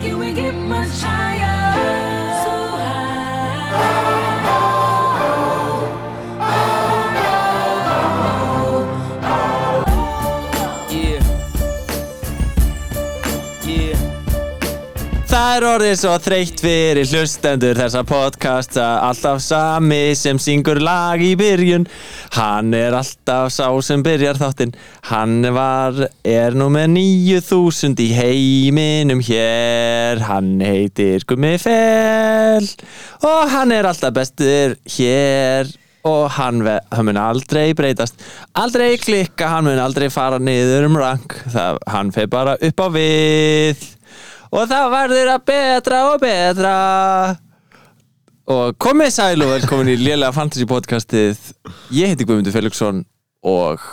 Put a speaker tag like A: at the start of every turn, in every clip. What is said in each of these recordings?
A: Can we get much higher? So high.
B: Yeah. Yeah. Það er orðið svo þreytt fyrir hlustendur þessa podcasta Alltaf sami sem syngur lag í byrjun Hann er alltaf sá sem byrjar þáttinn Hann var, er nú með 9000 í heiminum hér Hann heitir Gummi Fell Og hann er alltaf bestur hér og hann, ve- hann mun aldrei breytast aldrei klikka, hann mun aldrei fara niður um rank það, hann fer bara upp á við og það verður að betra og betra og komið sæl og velkomin í lélega fantasy podcastið ég heiti Guðmundur Felixson og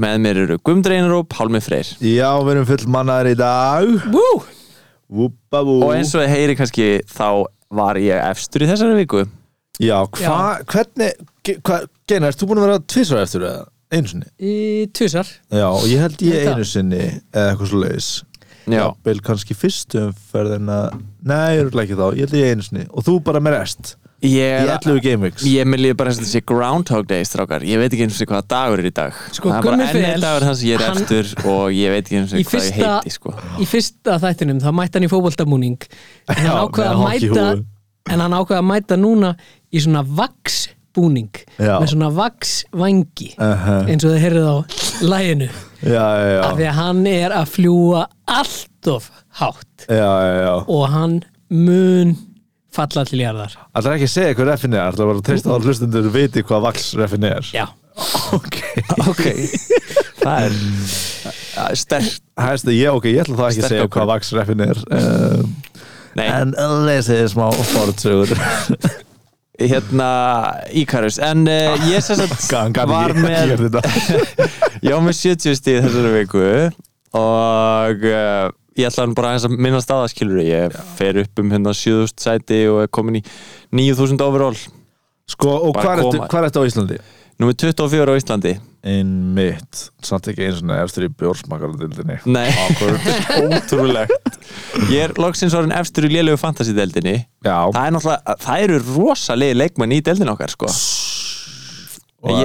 B: með mér eru Guðmundur Einar og Pálmi Freyr
C: Já, við erum full mannaðar í dag
B: Woo!
C: Vúpa vú
B: og eins og þið heyri kannski þá var ég efstur í þessari viku
C: Já, hva, hvernig ge- hva, Geinar, erst þú búin að vera tvisvar eftir það? Einu sinni?
D: í tvisar
C: Já, og ég held ég
D: Þetta.
C: einu sinni eða eitthvað svo laus
B: Já.
C: Bil kannski fyrstu umferðina Nei, ég er ekki þá, ég held ég einu sinni Og þú bara með rest
B: ég
C: Í
B: er
C: 11 Game Weeks
B: Ég með líður bara eins og þessi Groundhog Day, strákar Ég veit ekki eins og hvað dagur er í dag
D: Sko,
B: Það er bara
D: Gummi
B: enn
D: Fel,
B: einn dagur hans ég er
D: hann-
B: eftir Og ég veit ekki eins
D: í
B: og hvað ég
D: fyrsta,
B: heiti sko.
D: í fyrsta þættinum þá mætti hann í fótboltamúning en hann
C: Já,
D: ákveða að
C: með hokk í
D: mæta
C: húfu.
D: en hann ákveða að mæta núna í svona vaksbúning
C: Já.
D: með svona vaksvangi
C: Uh-huh.
D: eins og þið heyrið á læginu
C: Já, já, já
D: af því að hann er að fljúa allt of hátt
C: Já, já, já
D: og hann mun falla til jarðar
C: Það er ekki að segja hvað refin er Það er bara að treysta á að hlustundur viti hvað vaks refin er
D: já,
C: Ok
B: Ok Það er það er sterkt
C: Hæstu, ég, ok, ég ætla það ekki að segja
B: Sterk
C: hvað vaks refin er um,
B: Nei,
C: En lesið smá fortsögur
B: hérna Íkarus En uh, ég sem sagt
C: Gangan,
B: var
C: ég, ég
B: með
C: er þetta
B: Ég var með 70 stíð þessari viku Og uh, ég ætla hann bara aðeins að minna staðaskilur Ég fer upp um hérna 7000 sæti Og er komin í 9000 overall
C: Sko, og
B: Bara
C: hvað ertu,
B: koma.
C: hvar ertu á Íslandi?
B: Númer 24 á Íslandi
C: Einmitt, samt ekki eins og eftir í bjórsmakaradildinni
B: Nei, ótrúlegt Ég er loksins orðin efstur í lélegu fantasy-deldinni
C: Já,
B: Það er náttúrulega, það eru rosalegi leikmenn í deldin okkar sko
C: og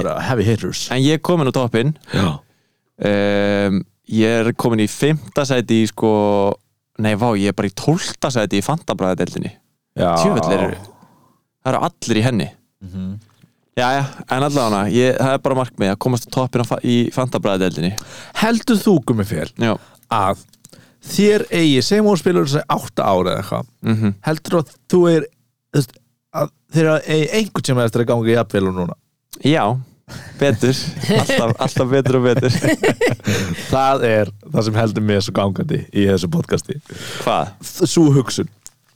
B: ég-
C: er heavy hitters
B: En ég er komin á toppinn
C: Já,
B: um, Ég er komin í fymta sæti í sko Nei, vá, ég er bara í tólta sæti í fantabræðadeldinni
C: já
B: Tjöfull eru Það eru allir í henni Jæja, en allavega ég, það er bara markmið að komast á toppinn á fa- í fantabræðadeldinni
C: Heldur þú, Gummi Fél,
B: Já,
C: að þér eigi, segjum hún spilur þessi átta ára eða eitthvað
B: mhm
C: Heldur að þú er, þú veist, að þér eigi einhvern tíma eftir að ganga í jafnvel og núna
B: Já, betur alltaf, alltaf betur og betur
C: Það er það sem heldur mig svo gangandi í þessu podcasti
B: Hvað?
C: Sú hugsun,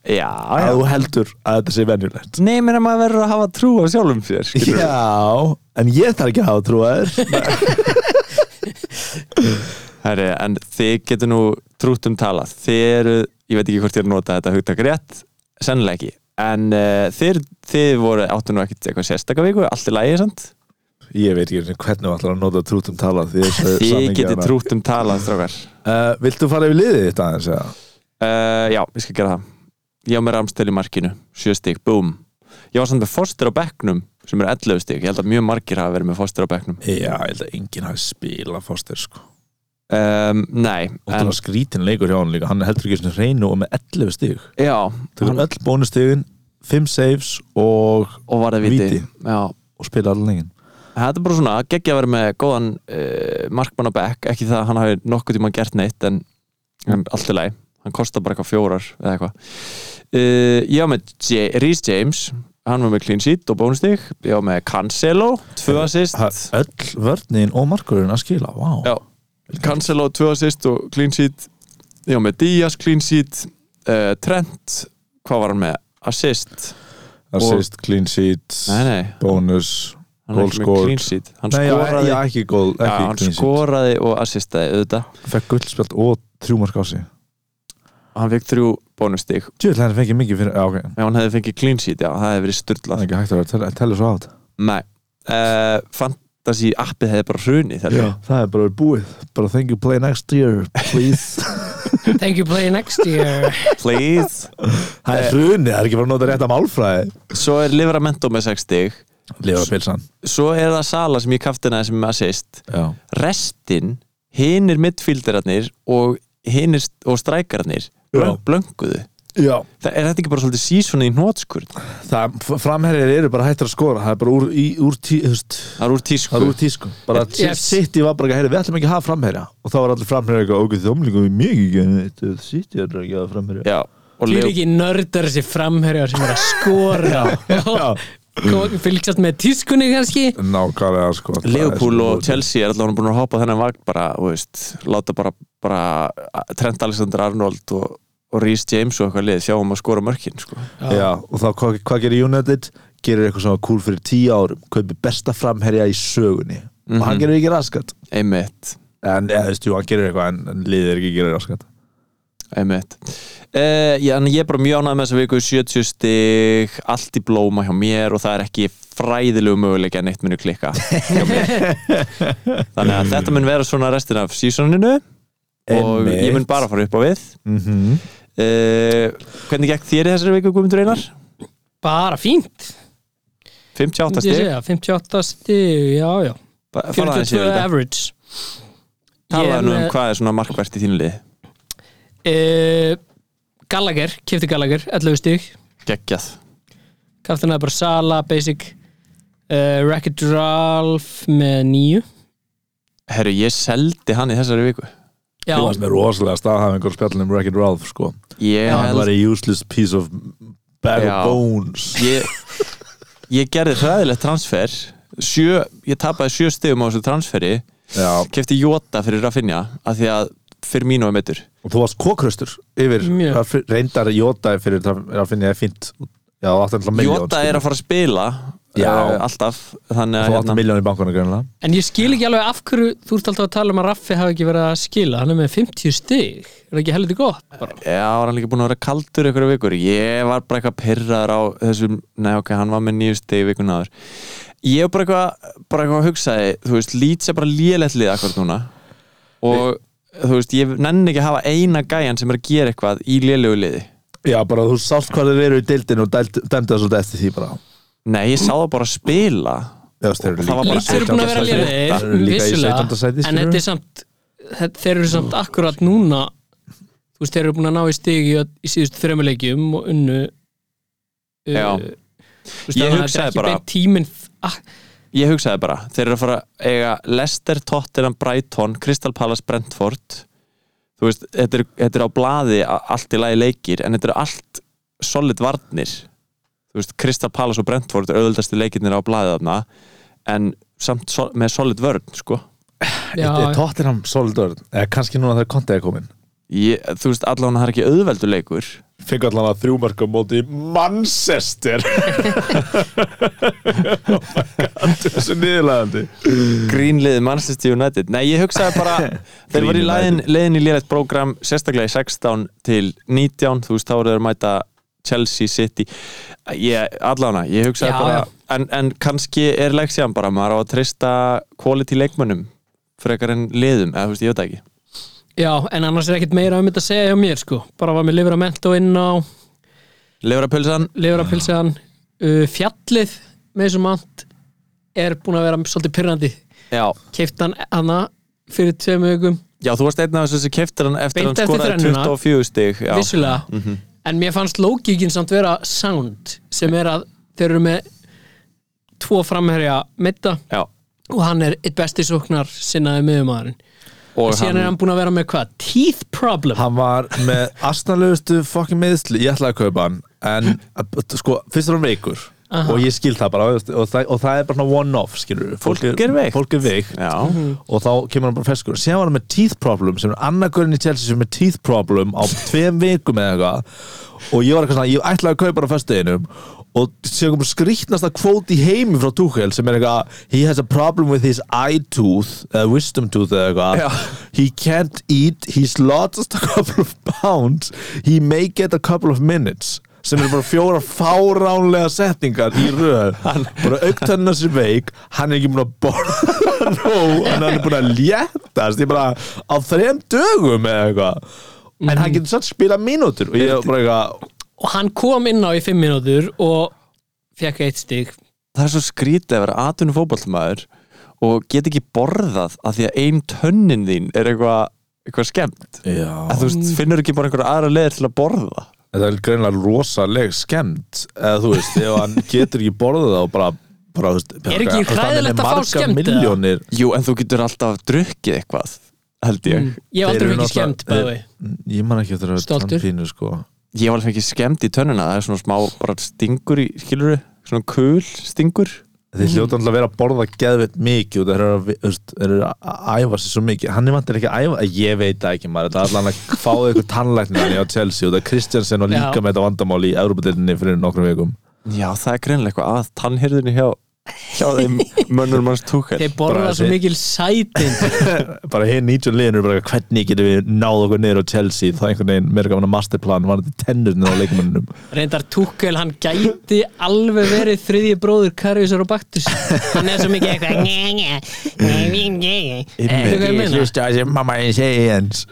B: Já, já
C: að þú heldur að þetta sé venjulegt
B: Nei, menn að maður verður að hafa trú á sjálfum sér skilurðu.
C: Já, en ég þarf ekki að hafa trúa þér
B: Herri, en þið getur nú trútt um talað Þið eru, ég veit ekki hvort ég er að nota þetta hugtak rétt Sennilega ekki En uh, þið, þið voru áttu nú ekkit eitthvað sérstaka viku Allt í lagi, sant?
C: Ég veit ekki einu sinni hvernig við ætlar að nota trútum tala Því þessu
B: Þið
C: samhengi
B: getur
C: hana.
B: trútt um talað, strákar
C: Eh, Viltu fara yfir liðið þitt aðeins? eða?
B: uh, Já, ég skal gera það Ég á með ramstel í markinu, sjö stík, búm Ég var samt með foster á bekknum sem er 11 stík, ég held að mjög margir hafa verið með foster á bekknum
C: Já, ég held að enginn hafi spila Foster sko
B: um, Nei,
C: Og það
B: en,
C: var skrítin leikur hjá hann líka Hann er heldur ekki svona reynu og með 11 stig
B: já
C: Það
B: hann,
C: er öll bónustigin, 5 saves og,
B: Og var það viti,
C: Víti.
B: Já,
C: og spila allan legin
B: Þetta er bara svona geggja að vera með góðan uh, markmann á bekk, ekki það að hann hafi nokkuð tíma gert neitt en,
C: Mm.
B: en allt í lagi, hann kostar bara eitthvað fjórar eða eitthvað uh, Ég var með J Rhys James hann var með clean sheet og bónustík ég var með Cancelo, tvö assist
C: Öll vörnin og markurinn að skila, vá
B: Já. Cancelo, tvö assist og clean sheet ég var með Díaz, clean sheet uh, Trent, hvað var hann með? Assist,
C: Assist, clean sheet,
B: nei nei
C: bónus
B: hann er
C: Goal
B: ekki með
C: scored.
B: clean sheet hann
C: Nei, já,
B: skoraði,
C: já, ekki goal,
B: já,
C: ekki
B: hann
C: clean sheet.
B: skoraði og assistaði auðvitað
C: fekk guldspjald og þrjú mark á sig
B: hann fekk þrjú bónustík
C: Djöðl hann fengið mikið fyrir, já ok það
B: ef hann hefði fengið clean sheet, já, það hefði verið
C: er
B: styrlað
C: ekki hægt að vera að tella, tella svo átt
B: Nei, uh, fantasy appið hefði bara hrunið
C: það er bara verið búið, bara thank you play next year please
D: Thank you play next year
B: please
C: Það er hrunið, það er ekki bara að nota rétt að málfræði
B: Svo er Livramento með 6 stig
C: Lifa pilsan
B: Svo er það Sala sem ég kaftina sem er assist
C: Já,
B: Restin, hinir midfíldirarnir og hinir og strækararnir
C: Já.
B: blönguðu
C: Já.
B: Það er þetta ekki bara svolítið sísoni í hnótskurn
C: Það, framherjar eru bara hættir að skora Það er bara úr, í, úr, tí, þú veist,
B: Það er úr tísku
C: það er úr tísku Bara
D: Yes.
C: yes. sitt í var bara ekki að heyra, við ætlum ekki að hafa framherja Og þá var allir framherjar eitthvað okkur þjómlingum í mig ekki En þetta sitt í er ekki að hafa framherja
B: Já, og
D: Þú er
B: Leo,
D: ekki nördar þessi framherjar sem er að skora og fylgjast með tískunni kannski
C: Nákvæmlega sko það er
B: Leopold
C: svo-
B: og Chelsea er allavega búin að hoppa þennan vagn bara, þú veist, láta bara, bara Trent Alexander-Arnold og, og Rhys James og eitthvað lið sjáum að skora mörkin sko.
C: Já, og þá hvað, hvað gerir United? Gerir eitthvað svona cool fyrir tíu árum Kaupir besta framherja í sögunni Og hann gerir ekki raskat
B: Mhm. einmitt,
C: En, eða, þú veist, jú, hann gerir eitthvað en, en liðir ekki að gera raskat
B: einmitt. Uh, já, en ég er bara mjög ánægð með þessa viku 70 stig, allt í blóma hjá mér og það er ekki fræðilegu möguleik en eitt munu klikka hjá mér þannig að þetta mun vera svona restin af sísoninu og
C: Einmitt.
B: ég mun bara fara upp á við
C: mm
B: uh, hvernig gekk þér í þessari viku Guðmundur Einar?
D: Bara fínt
B: 58
D: myndi ég
B: stig
D: segja, 58 stig, já já
B: Ba- fara aðeins
D: 42
B: yfir þetta.
D: average
B: Talaðu
D: Ég
B: nú um
D: með-
B: hvað er svona markvært í þínu liði
D: uh, Gallagher, kifti Gallagher 11 stig,
B: Geggjað
D: kaftan bara Sala basic, uh, Racket Ralph með 9
B: Herru, ég seldi hann í þessari viku
D: já,
C: Þú varst með rosalega staðhæfingur spjallin um Wreck-It Ralph sko
B: Ég,
C: Hann var
B: held,
C: a useless piece of bag
B: Já.
C: of bones
B: ég, ég gerði hræðilegt transfer sjö, Ég tapaði sjö stegum á þessu transferi
C: Já,
B: Kefti Jota fyrir Rafinha af því að fyrir mínu er meittur
C: og þú varst kókraustur yfir
D: Mjög.
C: Ralf- reyndar Jóta fyrir að finna ég fínt Já, þú átti alltaf miljón
B: Jota er að fara að spila
C: Já.
B: eh, Alltaf Þannig
C: sko. Þú
B: að
C: átti
B: hérna,
C: miljón í bankunum greinlega
D: en ég skil ekki alveg af hverju þú ert alltaf að tala um að Raffi hafi ekki verið að skila, hann er með 50 stig er það ekki heldur gott bara
B: Já, var hann líka búin að vera kaldur einhverju vikur Ég var bara eitthvað pyrraður á þessum Nei, ok, hann var með nýju stegi vikuna áður Ég var bara eitthvað, bara eitthvað að hugsaði Þú veist, Leeds er bara lélegt lið akkur núna Og þú veist, ég nenni ekki að hafa eina gæjan sem er að gera eitthvað í lélegu liði
C: Já, bara þú sást hvað þau eru í deildinu og dæmdi það svolítið eftir því bara
B: Nei, ég sá það bara að spila
C: Já, þú veist, þeir eru
B: Það var bara
C: líka-
D: Leeds eru búin að vera
C: 17. sæti. Þeir
D: lélegir,
C: eru líka í 17.
D: vissulega
C: sæti,
D: en
C: skilurðu.
D: þetta er samt þetta- þeir eru samt akkurat núna þú veist, þeir eru búin að ná í stig í, öll- í síðust þremmuleikjum og unnu uh,
B: Já.
D: þú veist,
B: Ég
D: þannig að þetta
B: hugsaði
D: er ekki
B: bara-
D: beint tíminn ah,
B: Ég hugsaði bara, þeir eru að fara að eiga Lester, Tottenham, Brighton, Crystal Palace, Brentford Þú veist, þetta er, þetta er á blaði a- allt í lagi leikir en þetta eru allt solid varnir Þú veist, Crystal Palace og Brentford er auðvöldastu leikirnir á blaði þarna en samt sol, með solid vörn sko.
D: já,
C: Þetta er Tottenham solid vörn eða kannski núna þegar Conte er komin
B: ég, Þú veist, allan það er ekki auðveldu leikur
C: fengi allan að þrjú marka móti í Manchester oh my god þessu niðurlegandi
B: Grínliði Manchester United Nei, ég hugsaði bara Þeir var í
C: Green
B: leiðin, leiðin í lélætt prógram sérstaklega í 16 til 19 þú veist, þá eru þeir að mæta Chelsea City ég, Allána, ég hugsaði
D: Já,
B: bara
D: já.
B: En, en kannski er leksjan bara maður á að treysta quality leikmönnum frekar en liðum, eða þú veist, ég veit það ekki
D: já, en annars er ekkert meira um þetta að segja hjá mér sko, bara var með Livramento inn á
B: Leifrapulsan,
D: Livrapilsaðan uh, fjallið með þessum mant er búin að vera svolítið pyrrandi
B: já
D: keift hann hana fyrir tveim aukum
B: Já, þú varst einn af þessu sem keftir hann eftir
D: Beint
B: hann
D: eftir
B: skoraði
D: þrennuna.
B: 24 stig já.
D: vissulega,
C: Mhm.
D: en mér fannst lógíkin samt vera sound sem er að þeir eru með tvo framherja meita
B: já,
D: og hann er eitt besti sóknar sinnaði miðumæðurinn
B: og
D: síðan er hann búin að vera með hvað? teeth problem
C: hann var með astnalegustu fokkin meðsli, ég ætlaði að kaupa hann en að- sko, fyrst er hann veikur og ég skil það bara veist, og það, og það er bara svona one-off, skilur
B: Fólk er veikt.
C: fólk er veikt
D: Mhm.
B: Já,
C: og þá kemur hann bara feskur síðan var hann með teeth problem sem er annarkurinn í Chelsea sem er teeth problem á tveim vikum eða eitthvað og ég var eitthvað svona, ég ætlaði að kaupa hann á föstudeginum og síðan kom skrýtnasta kvót í heimi frá Tuchel sem er eitthvað he has a problem with his eye tooth eða wisdom tooth eða
B: Já.
C: eitthvað he can't eat, he's lost a couple of pounds he may get a couple of minutes sem eru bara fjóra fáránlega setningar í röð bara auktanna sér veik hann er ekki búin að borða nóg en hann er búin að léttast ég bara á þrem dögum eða eitthvað en hann getur satt spila mínútur og ég var bara eitthvað
D: og hann kom inn á í fimm mínútur og fekk eitt stig
B: það er svo skrítið að vera atvinnu fótballmaður og get ekki borðað af því að ein tönnin þín er eitthvað eitthvað skemmt
C: Já.
B: að þú veist, finnur ekki bara einhverja aðra leið til að borða
C: þetta er greinlega rosaleg skemmt eða þú veist, ef hann getur ekki borðað það og bara, bara þú veist,
D: Er ekki hræðilegt að fá skemmt, eða?
C: miljónir
B: jú, en þú getur alltaf drukkið eitthvað held
D: ég
B: ég,
D: hef
C: Þeir
D: aldrei
C: eru
D: fengið
C: náttúrulega-
D: skemmt bæði
C: ég man ekki eftir að það er
D: Stoltur.
C: tannpínu sko
B: ég var alveg ekki skemmt í tönnina það er svona smá, bara stingur í, skilur svona kul stingur
C: þeir
D: Mhm.
C: hljóta alltaf að vera að borða geðveitt mikið og þeir eru að, þú veist, þeir eru að æfa sér svo mikið, hann er vantir ekki að æfa ég veit það ekki maður, þetta er allan að fáðu ykkur tannlæknir á Chelsea og það er Kristjansen og líka
D: Já.
C: með þetta vandamál í Európa-deildinni fyrir nokkrum vikum
B: já, það er greinlega eitthvað að tannhyrðinu hjá hjá þeim mönnur manns túkar
D: þeir borða
C: Bara
D: svo
C: þessi-
D: mikil sætin
C: bara hinn 19 liðin eru bara hvernig getum við náð okkur niður á Chelsea það er einhvern veginn meira gaman að masterplan var þetta tennurinn á leikmannunum
D: reyndar Tukkel, hann gæti alveg verið þriðji bróður Kariusar og Baktus hann er svo mikið eitthvað "Nye, nye, nye, nye, nye." Veistu hvað ég meina?
C: hlusta þessi mamma ég segi hans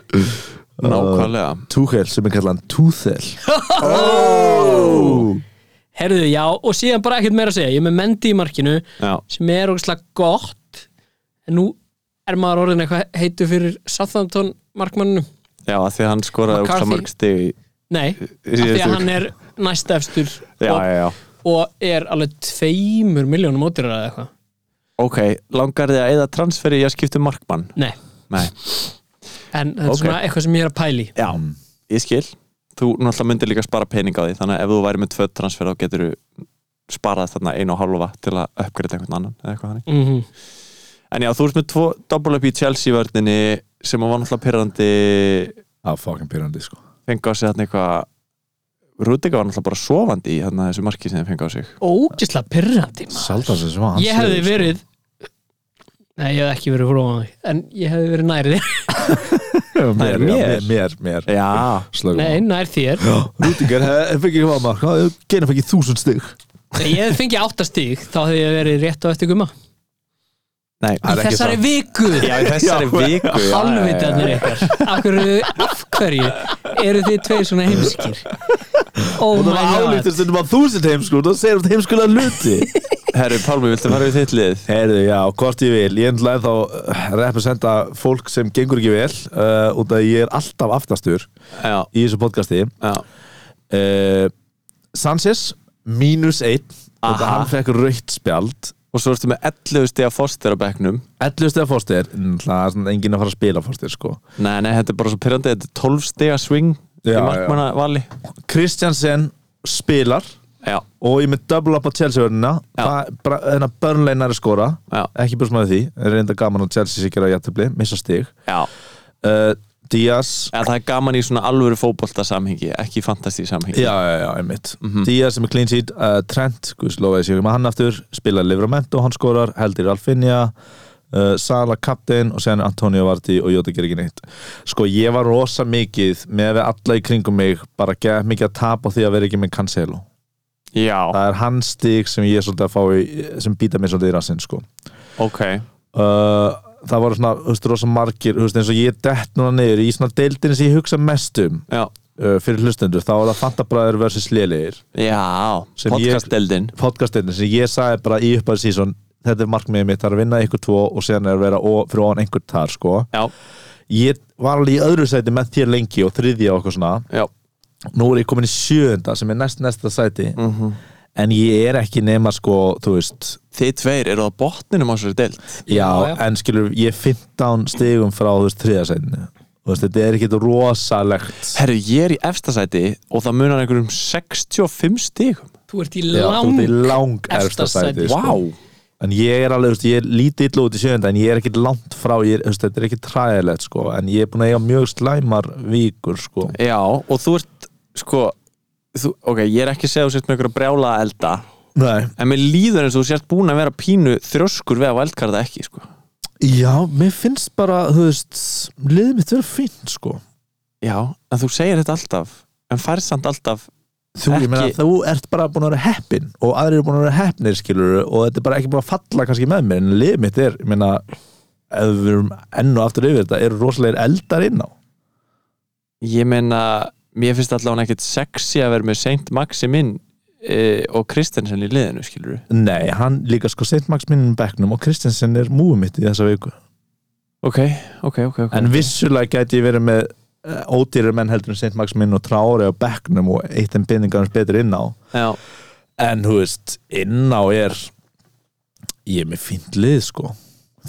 B: nákvæmlega
C: Túhel sem er kallan Túþel oh!
D: herðu, já, og síðan bara ekkert meira að segja ég er með Mendy í markinu
B: já,
D: sem er ógæslega gott en nú er maður orðin eitthvað heitu fyrir Southampton markmanninu
B: já að því að hann skoraði
D: McCarthy.
B: óksla mörg stig í-
D: nei, af því að hann er næst efstur
B: já,
D: og,
B: já, já
D: og er alveg tveimur miljónum ódýrar eða eitthvað
B: Ok, langar þið að eða transferi í að skipta um markmann?
D: nei,
B: Nei
D: en þetta er
B: Ok.
D: svona eitthvað sem ég er að pæli
B: Já, Mm. ég skil Þú náttúrulega myndir líka spara pening á því Þannig að ef þú væri með tvö transfer þá getur þú sparað þarna einu og hálfa til að uppgreita einhvern annan eða eitthvað þannig
D: mm
B: En já, þú ert með tvo double up í Chelsea vörninni sem var náttúrulega pyrrandi
C: það er fucking pyrrandi sko
B: fengi á sig þarna eitthvað Rúdika var náttúrulega bara sofandi í þarna þessu marki sem þið fengi á sig
D: ógæslega pyrrandi
C: Saldan sem sem hann
D: ég hefði verið nei, ég hefði ekki verið fróðan því en ég hefði verið nær þér
B: Það er
C: mér, já,
B: mér.
C: mér, mér, mér.
B: Já,
C: Slögum
D: nei, nær þér
C: Rútingar fengi ekki hvað mark Geina fengi þúsund stig
D: Ef ég hefði fengið áttastík þá hefði ég verið rétt á eftir gumma
B: nei
C: Það er
D: í
C: ekki
D: þessari
C: satt.
D: viku
B: Já, í þessari viku já, já, já.
D: halvvitarnir ykkar af hverju, af hverju eru þið tveir svona heimskir oh my
C: Og það var
D: god
C: álítið stundum að þúsund heimskur Það segir þetta heimskulega hluti
B: Herru, Pálmi, viltu fara við þitt lið?
C: Heyrðu, já, hvort ég vil Ég ætla ennþá þá representa fólk sem gengur ekki vel uh, út að ég er alltaf aftastur
B: Já,
C: í þessu podcasti
B: já
C: uh, Sanchez mínus 1 út að
B: Aha.
C: hann fekk rautt spjald
B: Og svo ertu með 11 stiga foster á bekknum
C: 11 stegar fórstir Það er svona enginn að fara að spila fórstir sko
B: Nei, nei, þetta er bara svo pyrrandi Þetta er 12 stiga swing
C: Já,
B: í
C: já.
B: markmanna vali
C: Kristjansen spilar
B: Já,
C: og ég er með double up á Chelsea-vörnina
B: Já.
C: Þannig að Burnlein er að hérna, skora
B: Já.
C: Ekki búið smáði því Er reynda gaman að Chelsea sér gera jættubli Missa stig
B: já
C: uh, Díaz
B: Eða, Það er gaman í svona alvöru fótbolta samhengi Ekki fantasí samhengi
C: Já, já, já, einmitt Díaz sem er clean sheet, uh, Trent, Guðs lofaði sér ekki með um hann aftur spilaði Livramento, hann skorar heldir Alfinja, uh, Sala kaptein og sen Antonio Varti og Jóta gerir ekki neitt Sko, ég var rosa mikið með við alla í kringum mig bara gef mikið að tapa á því að vera ekki með Cancelo
B: já
C: Það er hans stig sem ég er svolítið að fá í, sem býta mér svolítið í rassinn, sko
B: ok
C: uh, Það voru svona, þú veist, rosa margir, þú veist, eins og ég dett núna niður í svona deildin sem ég hugsa mest um
B: Já,
C: uh, fyrir hlustendur, þá er það Fantabræður versus Lélegir
B: já
C: Sem ég-
B: podcasteldin
C: podcastinu sem ég sagði bara í upphæðu sísón þetta er markmiðið mitt, það er að vinna ykkur tvo og sen er að vera ó, fyrir ofan einhvern þar sko.
B: Já,
C: ég var alveg í öðru sæti með þér lengi og þriðja og okkur svona
B: já,
C: nú er ég komin í sjöunda sem er næst næsta sæti
D: Mhm.
C: en ég er ekki nema sko, þú veist
B: þið tveir eru á botninum á sér deild
C: já,
D: já.
C: en skilur, ég er 15 stigum frá þú veist þriðja sætinu Þú veist, þetta er ekkit rosalegt
B: Herru, ég er í efstasæti og það munar einhverjum 65 stigum
D: þú ert í
C: Já, þú ert í
D: lang
C: lang
D: efsta
C: efsta sæti
D: sæti.
C: sko.
B: Vá.
C: en ég er alveg, þú veist, ég er lítið illa út í sjönda en ég er ekkit langt frá, ég er, þú veist, þetta er ekkit træðilegt sko, en ég er búin að eiga mjög slæmar vikur sko
B: Já, og þú ert, sko þú, Ok, ég er ekki að segja þú sért með einhverja brjála elda
C: Nei.
B: En mér líður eins og þú sért búin að vera pínu þrjóskur við að vældkarta ekki, sko.
C: já, mér finnst bara, þú veist liðið mitt verið fínt sko
B: Já, en þú segir þetta alltaf, en færð samt alltaf,
C: þú,
B: Ekki-
C: ég meina, þú ert bara búin að vera heppin og aðrir eru búin að vera heppnir skilur og þetta er bara ekki búin að falla kannski með mér en liðið mitt er, ég meina ef við erum enn og aftur yfir þetta, eru rosalegir eldar inn á
B: ég meina, mér finnst allavega ekkert sexy að vera með Saint Maximin e, og Kristensen í liðinu, skilur
C: Nei, hann líka sko St. Max minnum bekknum og Kristensen er múið mitt í þessa viku
B: Ok, ok, ok, ok
C: En vissulega gæti ég verið með eh, ódýrari menn heldur en St. Max minn og trári á bekknum og eitt en bindingar hans betur inn á
B: Já,
C: En þú veist, inn á er ég er með fínt lið sko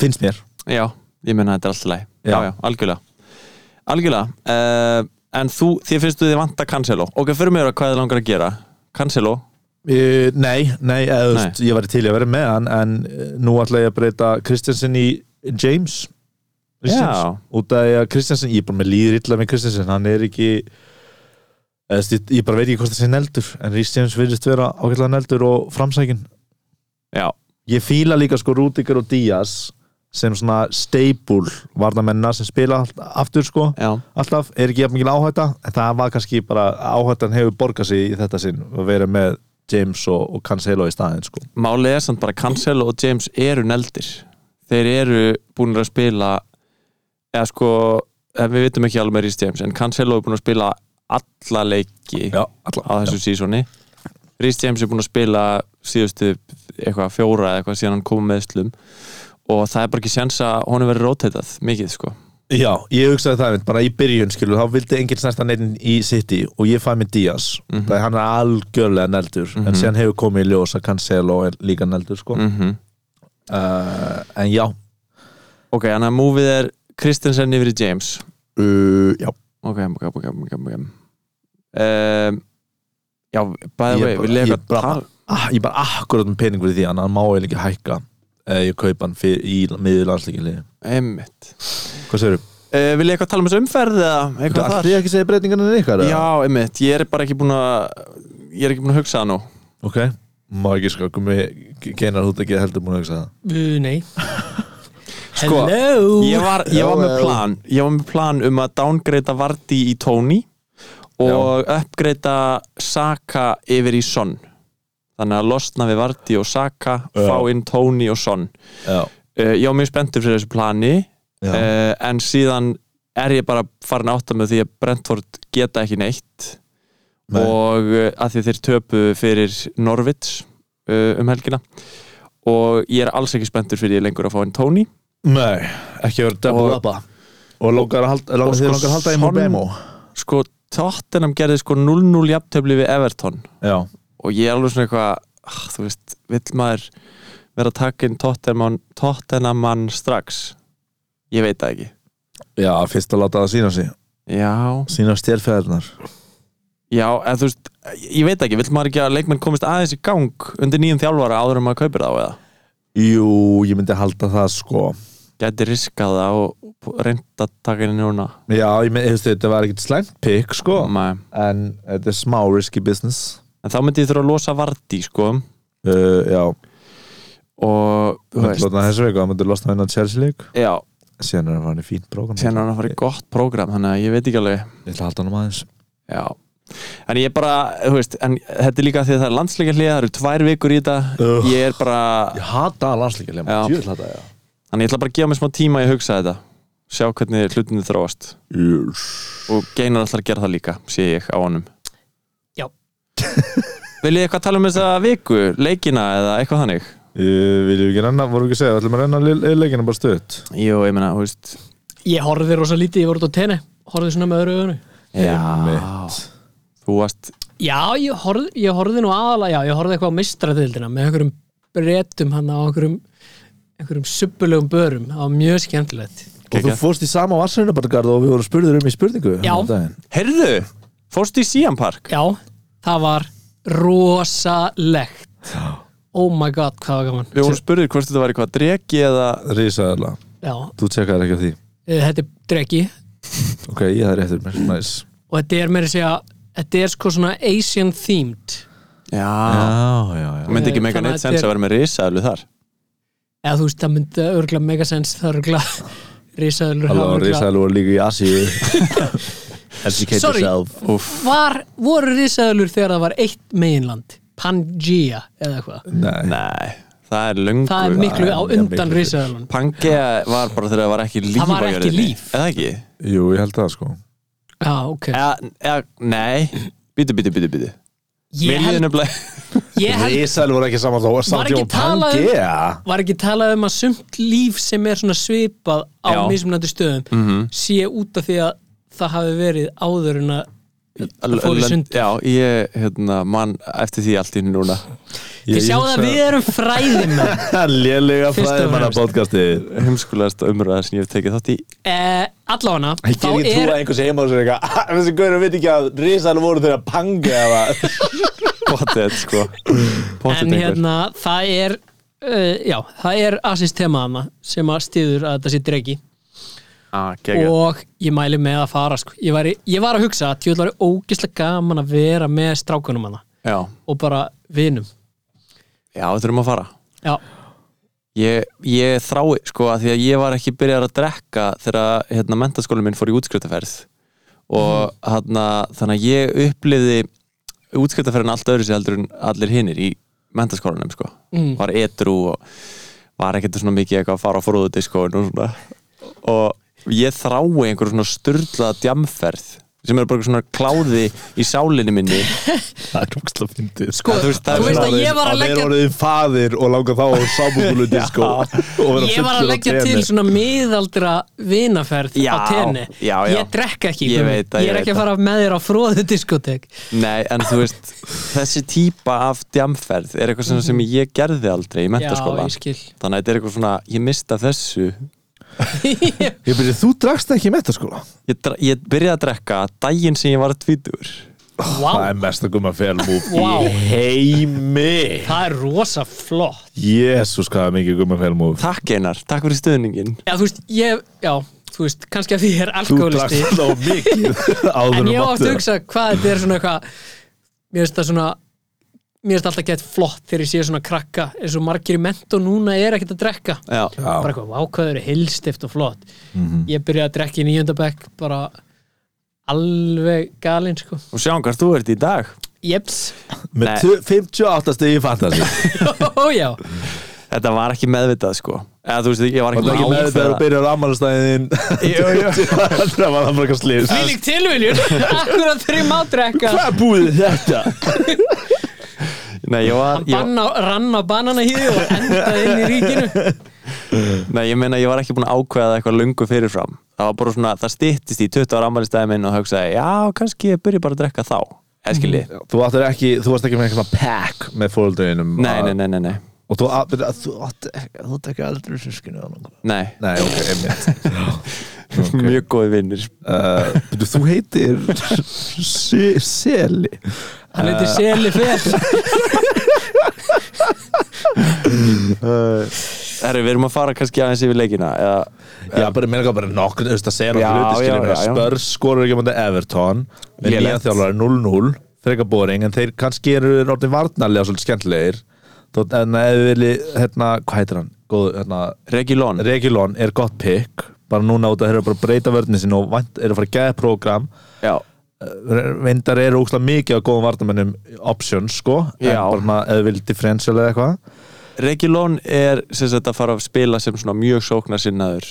C: Finnst mér
B: já, ég meina þetta er alltaf læg já. já,
C: Já.
B: algjörlega Algjörlega, uh, en þú, þið finnst þú þið vanta Cancelo Ok, fyrir mér að hvað þið langar að gera Cancelo,
C: Uh, nei, nei, eða, þú
B: Nei.
C: veist, ég var til í að vera með hann en eh, nú ætla ég að breyta Kristensen í James
B: já,
C: út af því að Kristensen, ég er bara með líður illa með Kristensen, hann er ekki eða, þú veist, ég, ég bara veit ekki hvort það sé neldur en Rhys James virðist vera ágætlega neldur og framsækin
B: já,
C: ég fíla líka sko Rúdikar og Díaz sem svona staple varnamennar sem spila allt- aftur sko
B: já
C: alltaf, er ekki jafn mikil áhætta en það var kannski bara áhættan hefur borgað sig í þetta sinn að vera með James og, og Cancelo í staðin sko.
B: Málið er samt bara að Cancelo og James eru neldir Þeir eru búinir að spila eða sko, eh, við vitum ekki alveg með Rhys James en Cancelo er búin að spila alla leiki
C: alltaf
B: á þessu sísoni Rhys James er búin að spila síðustu eitthvað fjóra eða eitthvað síðan hann kom með slum og það er bara ekki séns að honum verið rótetað mikið sko
C: Já, ég hugsaði það einmitt, bara í byrjun skilur, þá vildi enginn snerta neitt í City og ég fæði með Díaz mm -hmm. það er hann er algjörlega neldur en síðan hefur komið í ljós að Cancelo er líka neldur sko.
B: mm
C: uh, en já,
B: Ok, þannig að múfið er Kristensen yfir í James
C: uh, já
B: Ok, ok, ok, ok, ok um, Já, by the
C: Ég
B: way,
C: bara-
B: við lega
C: ég bara- ah, ég bara akkurat með pening fyrir því hann má eiginlega ekki hækka eh, ég kaupa hann fyrir, í miðurlandsleikinni
B: Einmitt
C: Hvað segirðu?
B: Uh, vil ég eitthvað tala um þessu umferð eða eitthvað
C: Ætlið
B: þar?
C: þið ekki að segja breytingarna en ykkar? eða?
B: Já, einmitt, ég er bara ekki búin að ég er ekki búin að hugsa það nú
C: Ok, má ekki sko Gumi geinar út ekki heldur búin að hugsa það
D: Uh, nei
B: Sko,
D: Hello
B: ég var, ég var með
C: Já, já.
B: plan ég var með plan um að downgrada Vardí í Tony og uppgrada Saka yfir í Son þannig að losna við Vardí og Saka
C: Já.
B: fá inn Tony og Son
C: Já, Eh,
B: uh, ég var mjög spenntur fyrir þessu plani
C: já,
B: uh, en síðan er ég bara farin að átta með því að Brentford geta ekki neitt
C: Nei.
B: og uh, að því þeir töpu fyrir Norvits uh, um helgina og ég er alls ekki spenntur fyrir ég lengur að fá einn Tony
C: nei, ekki verið double
B: Og-
C: uppa Og langar að halda,
B: Og sko,
C: langar, sko, langar að halda í
B: son-
C: Mbemo
B: sko Tottenham gerði sko 0-0 jafntöfli við Everton
C: Já,
B: og ég er alveg svona eitthvað ah, þú veist, vill maður vera að taka inn Tottenham, Tottenhamann strax ég veit það ekki
C: já, fyrst að láta það sína sig
B: já,
C: Sína stjærfæðarnar
B: já, eða þú veist ég veit það ekki, vill maður ekki að leikmenn komist aðeins í gang undir nýjum þjálfara áður en maður kaupir þá eða
C: Jú, ég myndi halda það sko
B: gæti riskað það og reynda að taka henni núna
C: Já, ég myndi, hefstu, þetta var ekkert slæmt pick sko
B: Nei.
C: En þetta er smá risky business
B: en þá myndi ég þurfa að losa Vardí sko
C: uh, Já,
B: og þú
C: myndi
B: veist
C: losna þessu veiku Það myndi losna hennar Chelsea leik
B: já,
C: Síðan er hann farin í fínt prógram
B: síðan er hann að fara í gott prógram þannig að ég veit ekki alveg
C: Ég ætla að halda hann um aðeins
B: já en ég bara, þú veist, en þetta er líka því að það er landsleika hlið, það eru tvær vikur í þetta
C: Ugh.
B: ég er bara,
C: Ég hata landsleikja
B: Já.
C: Ég hata það, já
B: þannig ég ætla bara að gefa mig smá tíma að ég hugsa þetta, sjá hvernig hlutinu þróast
C: Yes.
B: og geinar alltaf að gera það líka, sé ég á honum
D: Já.
B: Viljið eitthvað tala um þessa viku, leikina eða eitthvað þannig?
C: Uh, viljum við ekki renna, vorum við ekki að segja, ætlum við að renna le- le- leikina bara stöðt
B: Jú, ég meina, þú veist
D: Ég horfði rosa lítið, ég voru út á tenni Horfði svona með öðru öðru
B: Já, þú varst
D: Já, ég horfði, ég horfði nú aðalega, já, ég horfði eitthvað á mistratildina með einhverjum bretum hann á einhverjum, einhverjum suppulegum börum, það var mjög skemmtilegt.
C: Og þú
B: Geggjað.
C: fórst í sama vassarinabargarð og við vorum spurður um í spurningu
D: Já.
C: þennan daginn.
B: Heyrðu, fórstu í Sian Park?
D: Já, það var rosalegt. Oh my god, hvað var gaman.
B: Við vorum spurðið hvort þetta var eitthvað dregi eða
C: Rísaðarla,
D: Já,
C: þú tjekkaðir ekki á því
D: eh, þetta er dregi
C: Ok, ég það er eftir mér, næs
D: og þetta er meira að segja, þetta er sko svona Asian themed.
B: Já,
C: já,
B: það myndi ekki
D: Þannig
B: mega
D: að
B: neitt
D: þetta
B: sens
D: er-
B: að vera með risaðlu þar
D: Eða þú veist, það myndi örgulega megasens, það er örgulega risaðurlur.
C: Halló, Rísaðarla voru líka í Asi Educate
D: Sorry.
C: yourself
D: Var, voru risaðurlur þegar það var eitt meginland? Pangea eða eitthvað?
C: Nei,
B: Nei, það er löngu
D: það er miklu á
C: já, miklu
D: undan
C: fyrr.
D: risaðalun
B: Pangea var bara þegar það var ekki líf
D: Það var
B: á
D: ekki
B: jörðinni.
D: líf.
B: Eða ekki?
C: jú, ég held það sko
D: já, ok
B: eða, eða, nei Býtu, býtu, býtu, býtu
D: ég
B: Mér
D: held,
B: líður nefnilega
D: ég held
C: Ísæl voru ekki saman þó
D: Var ekki
C: Samt ég og
D: talað um-
C: Pangea
D: var ekki talað um að sumt líf sem er svona svipað á
B: Já.
D: mismunandi stöðum -hmm. sé út af því að það hafi verið áður en að fór í
B: Lönd-
D: sundur.
B: Já, ég, hérna, mann eftir því allt í einu núna
D: þið sjá það við erum fræðimenn
C: Lélega
D: Fyrst og
C: fræðimanna
D: fremst.
C: podcasti
B: Heimskulegasta umræða sem ég hef tekið þátt í
D: eh, allána
C: Ég
D: þá
C: get ekki trú að
D: er
C: einhvers heima og sér eitthvað "Ah, Þessi gauður veit ekki að Ísæl voru þeirra Pangea var."
B: Pottet, sko Pottet
D: en
B: einhver
D: hérna það er uh, já, það er assist temaðana sem að stýður að þetta sé dregi
B: Ah, geggjað.
D: og ég mæli með að fara sko. ég, var, ég var að hugsa að tjóðlega var ógislega gaman að vera með strákunum hana
B: Já,
D: og bara vinum
B: já, þurfum að fara
D: já,
B: Ég, ég þrái, sko, að því að ég var ekki byrjar að drekka þegar hérna, mentaskóli minn fór í útskriftaferð og
C: Mhm.
B: þarna, þannig að ég upplifði útskriftaferðin allt öðru sér heldur en allir hinnir í mentaskólanum, sko
C: Mhm.
D: Mm.
B: var etru og var ekkert svona mikið eitthvað að fara á fróðudiskóin og svona og ég þrái einhver svona styrlaða djamferð sem er bara einhver svona kláði í sálinni minni
C: Það er ógstlega fyndið
D: Sko,
B: þú veist, það
D: þú
B: er
D: veist
B: svona
D: að ég var að leggja
C: Þeir voruðið faðir og langa þá sko, Sábúkulu disko
D: Ég var að leggja til svona miðaldra vinaferð
B: Já,
D: á tenni
B: já, já.
D: Ég drekka ekki,
B: Ég
D: Gummi.
B: veit það,
D: ég
B: ég
D: er ekki
B: veit
D: að fara með þér á fróðu diskotek
B: Nei, en þú veist, þessi típa af djamferð er eitthvað svona sem ég gerði aldrei í
D: Mhm. Já,
B: mentaskóla
D: ég skil
B: Þannig að þetta er eitthvað svona, ég mista þessu
C: Ég byrja, þú drakst ekki með þetta sko? skóla
B: Ég, dra- ég byrjaði að drekka daginn sem ég var tvítur
C: Það
D: Vá,
C: er mest að gumma fel múf
D: Vá.
C: í heimi
D: það er rosa flott
C: Jésús hvað er mikið gumma fel múf
B: Takk Einar, takk fyrir stuðningin
D: Já, þú veist, ég, já, þú veist, kannski að því ég er
C: Þú
D: alkoholisti
C: drakst þá mikið áður
D: En ég var
C: en þú
D: aftur
C: mátti
D: að
C: það.
D: hugsa hvað þetta er svona eitthvað Mér finnst það svona Mér finnst alltaf gett flott þegar ég sé svona krakka eins og margir í mentó núna er ekkert að drekka
B: Já,
D: bara eitthvað, vá hvað þau eru hilstift og flott ég byrjaði að drekka í nýjöndabæk bara alveg galinn sko
B: og sjáum hvað þú ert í dag
D: jeps,
B: Nei.
C: Með tu- 58 stegi fantasi
D: ó já
B: Þetta var ekki meðvitað sko Eða þú veist, ég var
C: Það
B: ekki
C: er ekki með þetta að byrja á ammálastæðin Það var bara eitthvað slið
D: því líkt tilviljun, akkurat þegar ég má drekka
C: Hvað er búið þetta?
B: Nei, ég var,
D: hann
B: ég,
D: banna, rann á banana og endaði inn í ríkinu
B: nei, ég meina, ég var ekki búin að ákveða eitthvað lungu fyrirfram Það var bara svona, það styttist í 20 ára ammælistæði minn og hugsaði, já, kannski ég byrja bara að drekka þá Eða skilji,
C: Þú, áttir ekki, þú varst ekki með eitthvað pack með fóldreinum
B: nei, nei, nei, nei, nei
C: Og þú, að, þú átt ekki, þú átt ekki aldrei sískinu
B: Nei,
C: Nei, ok, einmitt
B: mjög góði vinnir
C: uh, betur, Þú heitir Se- Seli
D: hann heiti Seli Fer
C: Eh,
B: Herru, við erum að fara kannski aðeins yfir leikina eða,
C: Já, bara meina ekki bara nokkur Þú veist að segja
B: Já,
C: nokkur
B: já,
C: hluti
B: já, já.
C: Spurs skorur ekki á móti Everton Með
B: Lélegt.
C: nýja þjálfari 0-0 Freka boring, en þeir kannski eru orðin varnarlega svolítið skemmtilegir Þó- En ef við viljið, hérna, hvað heitir hann? Góð, hérna,
B: Regilon
C: Regilon er gott pick bara núna út að þeir eru bara að breyta vörðinu sinni og vant, eru að fara að geða program
B: Já,
C: reyndar eru ógstlega mikið af góðum vartamennum options sko en
B: Já.
C: bara svona eða vil differential eða eitthvað
B: Regilon er sem sagt að fara að spila sem svona mjög sóknarsinnaður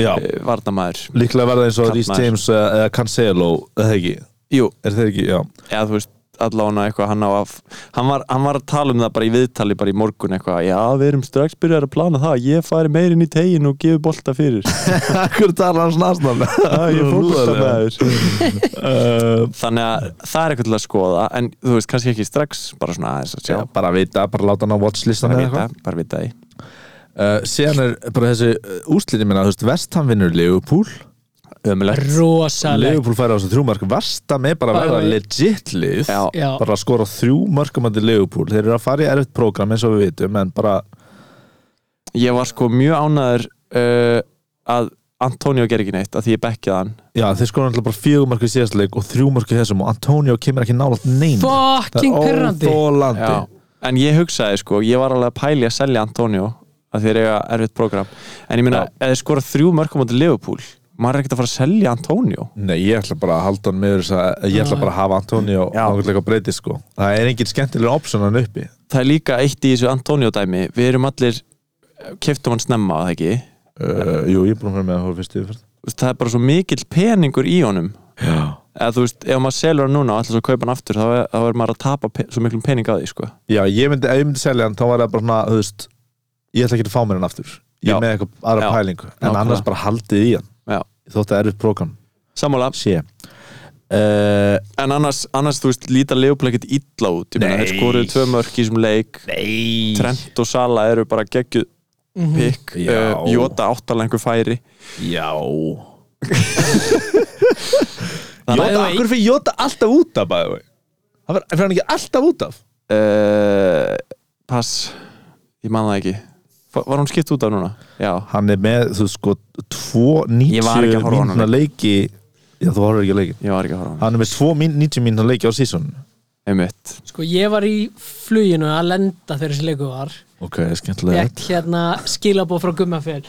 C: já,
B: eh, varnamaður
C: líklega verða eins og
B: Kantmaður.
C: Rhys James eða, eða Cancelo eða ekki,
B: Jú,
C: er þeir ekki, já
B: eða þú veist allána eitthvað hann á að hann var, hann var að tala um það bara í viðtali bara í morgun eitthvað, já við erum strax byrjar að plana það ég fari meirinn í tegin og gefi bolta fyrir
C: Akkur talar hans næstan
B: Já, ég er fótboltamaður.
C: uh,
B: þannig að það er eitthvað til að skoða en þú veist kannski ekki strax, bara svona aðeins að sjá
C: já, bara vita, bara láta hann á watchlistan
B: bara
C: eða
B: vita,
C: eitthvað
B: bara vita því
C: uh, síðan er bara þessi eh, úslinni minna, þú veist, Vestham vinnur Leopold
B: ömulegt,
D: rosaleg
C: Leopold færi á þessu þrjú mörg Vestam er bara að
D: Bara
C: vera
D: við-
C: legit lið
B: Já.
D: Já.
C: bara að skora þrjú mörgum að til Leopold, þeir eru að fara í erfitt prógram eins og við vitum, en bara
B: ég var sko mjög ánæður uh, að Antonio ger ekki neitt að því ég bekkið hann
C: Já, þeir skoðu náttúrulega bara fjögur mörg í síðasta leik og þrjú mörg í þessum og Antonio kemur ekki nála neina
D: fucking perrandi
C: óþólandi
B: Já, en ég hugsaði sko, ég var alveg að pæli að selja Antonio að þeir eiga erfitt program en ég meina,
C: Já.
B: ef þeir skora þrjú mörgum átti Liverpool, maður er ekkert að fara að selja Antonio
C: Nei, ég ætla bara að halda hann með þess að ég ætla bara að hafa Antonio og
B: Já.
C: náttúrulega breyti sko Það er engin skemmtilega option hann uppi
B: Það er líka eitt í þessu Antonio dæmi við erum allir, keftum hann snemma að það ekki,
C: uh, Jú, ég er búin að vera með að hóða fyrst yfir
B: Þú veist, það er bara svo mikill peningur í honum
C: Já
B: eða þú veist, ef maður selur hann núna og ætlar svo að kaupa hann aftur, þá er, þá er maður að tapa pe- svo miklum pening á því, sko
C: Já, ég myndi, ef ég myndi selja hann, þá var það bara svona, þú veist, ég ætla ekki að fá mér hann aftur. Ég
B: Já.
C: er með eitthvað aðra
B: Já.
C: pælingu. En
B: Nákvæmlega.
C: annars bara haldið í hann.
B: Já.
C: Þótt að erfið prógram
B: Sammála,
C: sé. Uh,
B: en annars, annars þú veist, líta Leopold ekkert illa út, ég meina,
C: Nei.
B: þeir skoruðu tvö mörk í þessum leik
C: Nei.
B: Trent og Sala eru bara geggjuð pikk,
C: Já.
B: uh, Jota áttalengur færi
C: Já.
B: Þannig
C: Jóta,
B: að-
C: akkur fyrir Jóta alltaf út af, bæði. Það fyrir hann ekki alltaf út af.
B: uh, Pass Ég man það ekki Var var hún skipt út af núna? Já,
C: Hann er með, þú veist, sko, tvo
B: Ég var ekki
C: 90
B: að horfa á honum.
C: mínuna leiki. Já, þú horfður ekki að leiki.
B: ég var ekki að horfa á hann
C: Hann er með tvo mín- 90 mínuna leiki á sísónu.
B: Einmitt
D: Sko, ég var í fluginu að lenda þegar þessi leiku var
C: Ok, skemmtilega.
D: Fekk hérna skilabóð frá Gummafell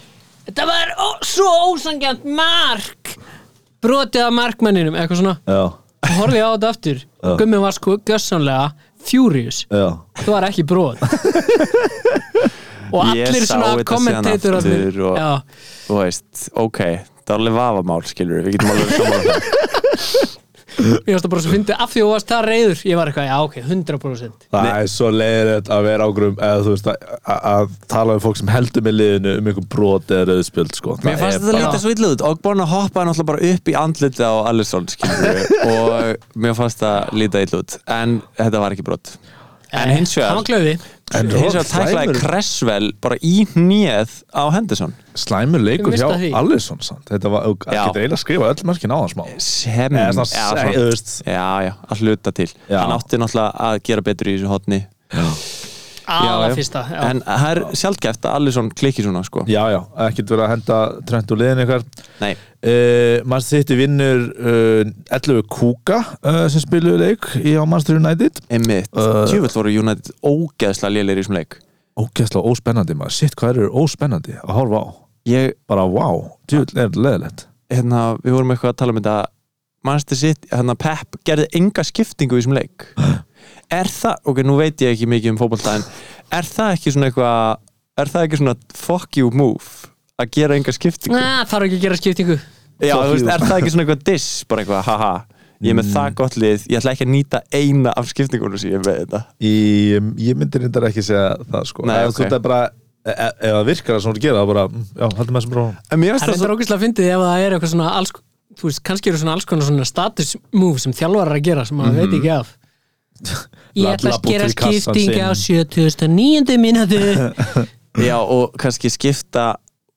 D: Þetta var ó, svo ósangjant mark Brotið af markmanninum, eitthvað svona
C: Já,
D: Og Horfði ég á þetta aftur
C: Já.
D: Gummi var sko gössanlega furious
C: já.
D: Þetta var ekki brot Og
B: Ég
D: allir
B: sá
D: svona
B: þetta síðan
D: kommentator
B: aftur og- Þú veist, ok Það er alveg vafamál, skilur við getum alveg um saman það
D: Ég varst að bara svo fyndið af því að þú varst það reyður Ég var eitthvað, já ok, 100%
C: Það er svo leiðilegt að vera ágrum eða þú veist að, að, að tala um fólk sem heldur með liðinu um einhver brot eða rauðspjöld sko.
B: Mér fannst þetta lítið svo illa út og búin að hoppa hann alltaf bara upp í andlitið á Alisson skilur við og mér fannst það lítið illa út en þetta var ekki brot En hins
D: Eh,
B: vegar-
D: Hann var glöði
C: En
B: Hins vegar
C: Rod
B: tæklaði
C: Slæmur-
B: Cresswell bara í hnið á Henderson
C: Slæmur leikur
D: Ég
C: hjá
D: mista því.
C: Allison sant? Þetta var, og
B: Já.
C: ekki reyla að skrifa öll mörkin á það smá
B: sem
C: Eða
B: eða
C: svona
B: svona-
C: seg- þú veist.
B: já, já, að hluta til
C: Já.
B: hann átti náttúrulega að gera betur í þessu hotni
D: Aða fyrsta já.
B: en það er sjálfgæft að Alisson klikki svona sko.
C: Já, já, ekkert verið að henda trend úr liðinu ykkar
B: nei,
C: uh, Manchester City vinnur uh, 11 Kúka uh, sem spiluðu leik í á Manchester United
B: einmitt uh,
C: Uh.
B: tjúvöld voru United ógeðslega lélir í þessum leik
C: Ógæslega óspennandi maður, sitt hvað eru óspennandi að horfa á,
B: ég,
C: bara wow djúvill er þetta leiðilegt
B: hérna, við vorum eitthvað að tala um þetta mannstu sitt, hérna Pep gerði enga skiptingu í þessum leik er það, ok, nú veit ég ekki mikið um fótballtæðin er það ekki svona eitthvað er það ekki svona fuck you move að gera enga skiptingu
D: Ah, Þarf ekki að gera skiptingu
B: Já,
C: Fuck
B: þú veist,
C: you.
B: er það ekki svona eitthvað diss bara eitthvað, haha, ég er með það gott lið ég ætla ekki að nýta eina af skiptingunum sem ég er með hérna. þetta
C: Í, ég myndi reyndar ekki segja það sko
B: Nei,
C: Ef
B: ok.
C: þú ert að bara, e- e- ef það virkar það sem þú ert að gera það bara, mm, já, heldur með þessum bróðum
B: En mér finnst
D: Það er
B: það svo
D: þetta ógæslega fyndið ef það er eitthvað svona alls, þú veist, kannski eru svona alls konar svona status move sem þjálfarar eru að gera sem maður veit ekki af Mhm. Ég ætla að
C: Labba
D: gera
C: út í kassan
D: skiptingi
C: sinn.
D: á 79. mínútu
B: Já, og kannski skipta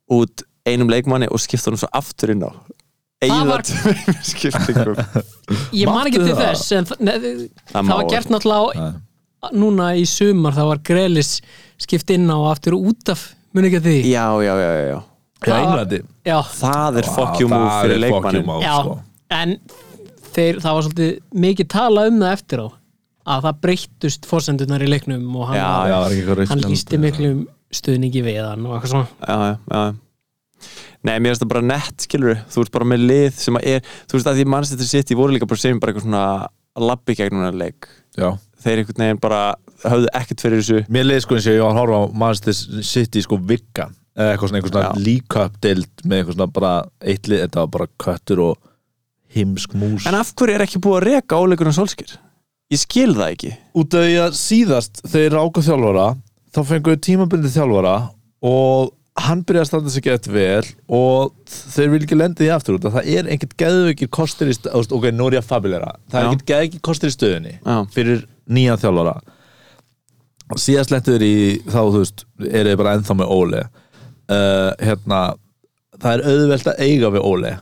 B: út einum leikmanni og skipta honum svo aftur inn á
D: Það
B: Eða
D: var-
B: tveim skiptingum
D: Ég man ekki
C: Máttu
D: til
C: það?
D: þess en það, neð, það
B: má
D: var
B: ekki.
D: gert náttúrulega á, núna í sumar það var Grelis skipt inn á og aftur út af muni ekki að því
B: Já, já, já, já, já
C: Já,
D: Það-
C: Englandi
D: Já,
B: Það er fuck you
C: Vá,
B: move
C: það
B: fyrir
C: er fuck you
B: leikmannin
C: move,
D: já
C: sko.
D: en þeir, það var svolítið mikið tala um það eftir á að það breyttust fórsendunar í leiknum og hann
B: Já,
D: var-
C: Já, það var ekki eitthvað
D: hann
C: reynslan.
D: lísti miklum stuðningi við hann og eitthvað svona
B: já, já, já. Nei, mér finnst það bara nett, skilur Þú ert bara með lið sem að er Þú veist að því mannstættir sitt, ég voru líka bara sem bara eitthvað svona að labbi gegnum hennar leik
C: Já.
B: Þeir einhvern veginn bara höfðu ekkert fyrir þessu
C: Mér leiði sko eins og ég var að horfa á Manchester City sko vikkan eða eitthvað svona, eitthvað
B: Já.
C: svona líköp deild með eitthvað svona bara eitt lið, þetta var bara köttur og himsk mús
B: En af hverju er ekki búið að reka óleikunum solskir? Ég skil það ekki
C: út af því að síðast þegar ráka þjálfara þá fengu við tímabundið þjálfara og hann byrjaði að standa sig gett vel og þeir vil ekki lenda því aftur út af það er ekkert geðveikir kostir í stöðunni ok, nú er ég að fabulera það
B: Já.
C: er ekkert geðveikir kostir í stöðunni
B: Já.
C: fyrir nýjan þjálfara síðast lendur í þá þú veist eru þið bara ennþá með Óli uh, hérna það er auðvelt að eiga við Óli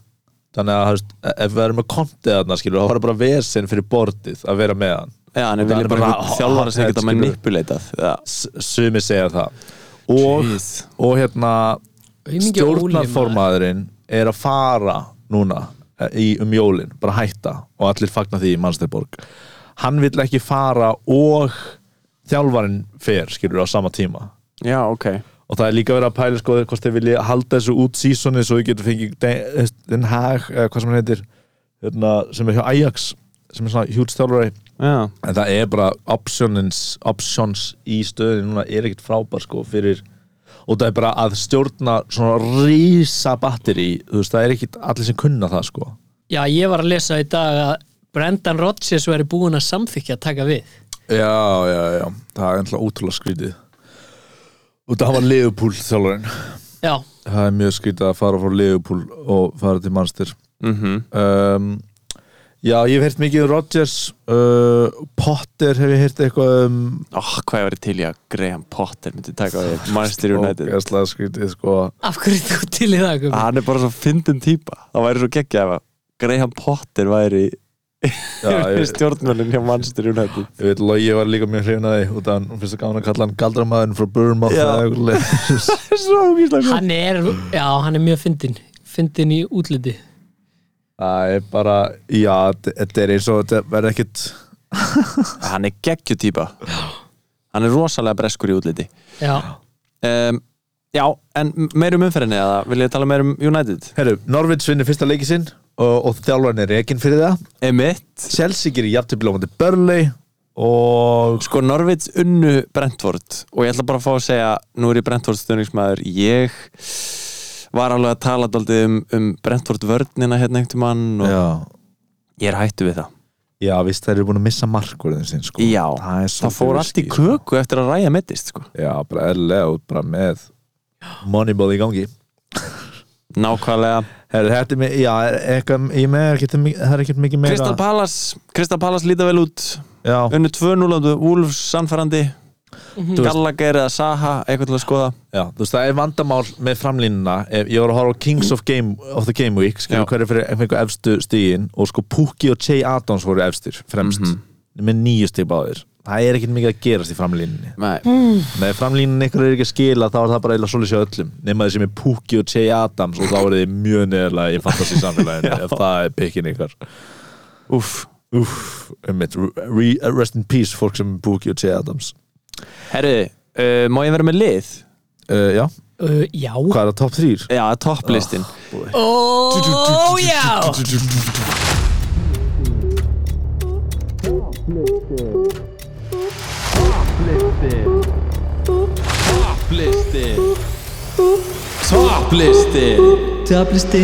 C: þannig að þú veist, ef við erum með kontið þarna skilur, þá var það bara vesinn fyrir bordið að vera með hann
B: Já, hann er
C: Það
B: vilja
C: er
B: bara
C: bara
B: einhvern þjálfara sem
C: hot-
B: geta
C: skilur.
B: manipulatað Já,
C: S- sumi segja það og,
B: Jeez.
C: og hérna
D: Aumingi Óli, maður.
C: stjórnarformaðurinn er að fara núna eh, í, um jólin, bara hætta og allir fagna því í Mansterborg hann vill ekki fara og þjálfarinn fer, skilur á sama tíma
B: já ok
C: og það er líka verið að pæla sko hvort þeir vilja halda þessu út sísoni svo þau getur fengið De- Den Haag, eða hvað sem hann heitir hérna, sem er hjá Ajax sem er svona hjúts þjálfari
B: Já,
C: en það er bara options, options í stöðinu núna er ekkert frábær sko fyrir og það er bara að stjórna svona rísa batteri þú veist það er ekkert allir sem kunna það sko
D: Já, ég var að lesa í dag að Brendan Rodgers væri búin að samþykja að taka við
C: Já, já, já, það er ennþá útrúlega skrítið og það var Leopold þjálfurinn
D: Já,
C: það er mjög skrítið að fara frá Leopold og fara til mannstir
B: Mhm.
C: um, Já, ég hef heyrt mikið um Rodgers uh, Potter hef ég heyrt eitthvað um
B: oh, Hvað ég var til í að Graham Potter myndi taka við Manchester United
C: Ógeðslega skrítið sko
D: af hverju ert þú til í það Gumi?
B: Hann er bara svo fyndin típa Það væri svo geggjað ef að Graham Potter væri
C: já, ég,
B: stjórnmönnum hjá Manchester United
C: ég veit alveg, ég var líka mjög hrifin að því og það finnst það gaman að kalla hann galdramaðurinn frá Burmouth
B: Já.
C: eða eitthvað leið.
B: Svo
C: Ah.
B: ógíslega
D: Hann er, já, hann er mjög fyndin fyndin í útliti
C: Það er bara, já, þetta er eins og þetta verður ekkit
B: Hann er geggju típa Hann er rosalega breskur í útliti
D: Já,
B: um, Já, en meirum umferðinni eða vil ég tala meirum United?
C: Herru, Norvits vinnir fyrsta leiki sinn og, og þjálfarinn er reikinn fyrir það
B: Emitt
C: Chelsea gerir jafntefli á móti Burnley og
B: Sko Norvids unnu Brentford og ég ætla bara að fá að segja, nú er ég Brentford stöðningsmaður, ég var alveg að tala daldið um, um Brentford vörnina hérna einhvern mann og
C: já,
B: ég er hættu við það
C: já, víst þær eru búin að missa markverðin sinn sko.
B: Já,
C: það,
B: það
C: er svolítið
B: fór allt í
C: risky, sko.
B: köku eftir að ræja mittist sko.
C: Já, bara erlega út, bara með Moneyball í gangi
B: Nákvæmlega
C: Herru, þetta er með, já, er eitthvað ég með, er ekkert, það er ekkert mikið meira
B: Kristal Palace, Kristal Palace líta vel út
C: Já,
B: unnu 2-0, Wolves sannfærandi
C: Mhm.
B: Gallagher eða Saha eitthvað til að skoða
C: Já, þú veist, það er vandamál með framlínuna ef ég voru að horfa á Kings of, Game, of the Game Week skilur
B: Já.
C: hverju fyrir einhverju efstu stígin og sko Pukki og Jay Adams voru efstir fremst, með nýju stíg báðir það er ekkert mikið að gerast í framlínunni
B: Nei,
C: með framlínunni ykkur er ekki að skila þá er það bara eila svolítið sér öllum nema þessi með Pukki og Jay Adams og þá er þið mjög neðurlega í fantasi samfélaginu ef það er pikkin ykkar
B: úff
C: Úff, um mitt, re, rest in peace fólk sem Pukki og Jay Adams
B: Herru, uh, má ég vera með lið?
C: uh, Já,
D: uh, já
C: hvað er það top 3?
B: Já, topplistin
D: Ó, já
B: Topplistin Topplistin
D: Töflisti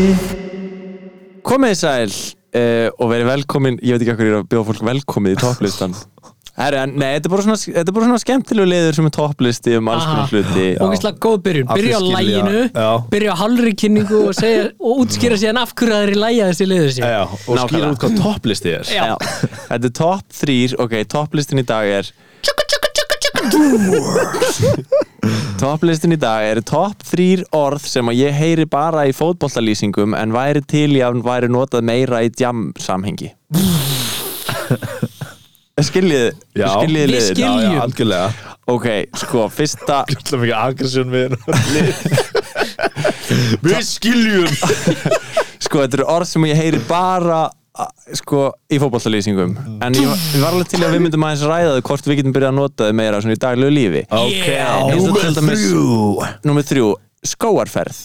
B: Komið sæl uh, og verið velkomin Ég veit ekki okkur ég er að bjóða fólk velkomið í topplistan Herru, en nei, þetta er bara svona, þetta er bara svona skemmtilegu liður sem er topplisti um alls konar hluti
D: Ógæslega góð byrjun, byrja á
C: Allir skilja,
D: læginu
C: já.
D: byrja á hálfri kynningu og, segja, og útskýra síðan af hverju það er í lægja þessi liður sér
C: Já, og skilur út hvað topplisti er
D: Já.
B: Já. Þetta er topp þrýr, ok, topplistin í dag er Topplistin í dag er topp þrýr orð sem að ég heyri bara í fótbollalýsingum en væri til í að væri notað meira í jam samhengi Skiljið
C: Já.
B: Skiljið
D: Við
B: liðin
D: skil-
C: Já,
D: Skiljum.
C: já, algjörlega
B: Ok, sko, fyrsta
C: Það er mikið aggression við Við skiljum
B: Sko, þetta eru orð sem ég heyri bara a- sko, í fótbollalýsingum en ég, ég var alveg til í að við myndum aðeins ræða þau hvort við getum byrjað að nota þau meira svona í daglegu lífi
C: Ok,
D: Yeah.
B: Eins og
C: númer
B: til dæmis-
C: þrjú
B: Númer þrjú, skóarferð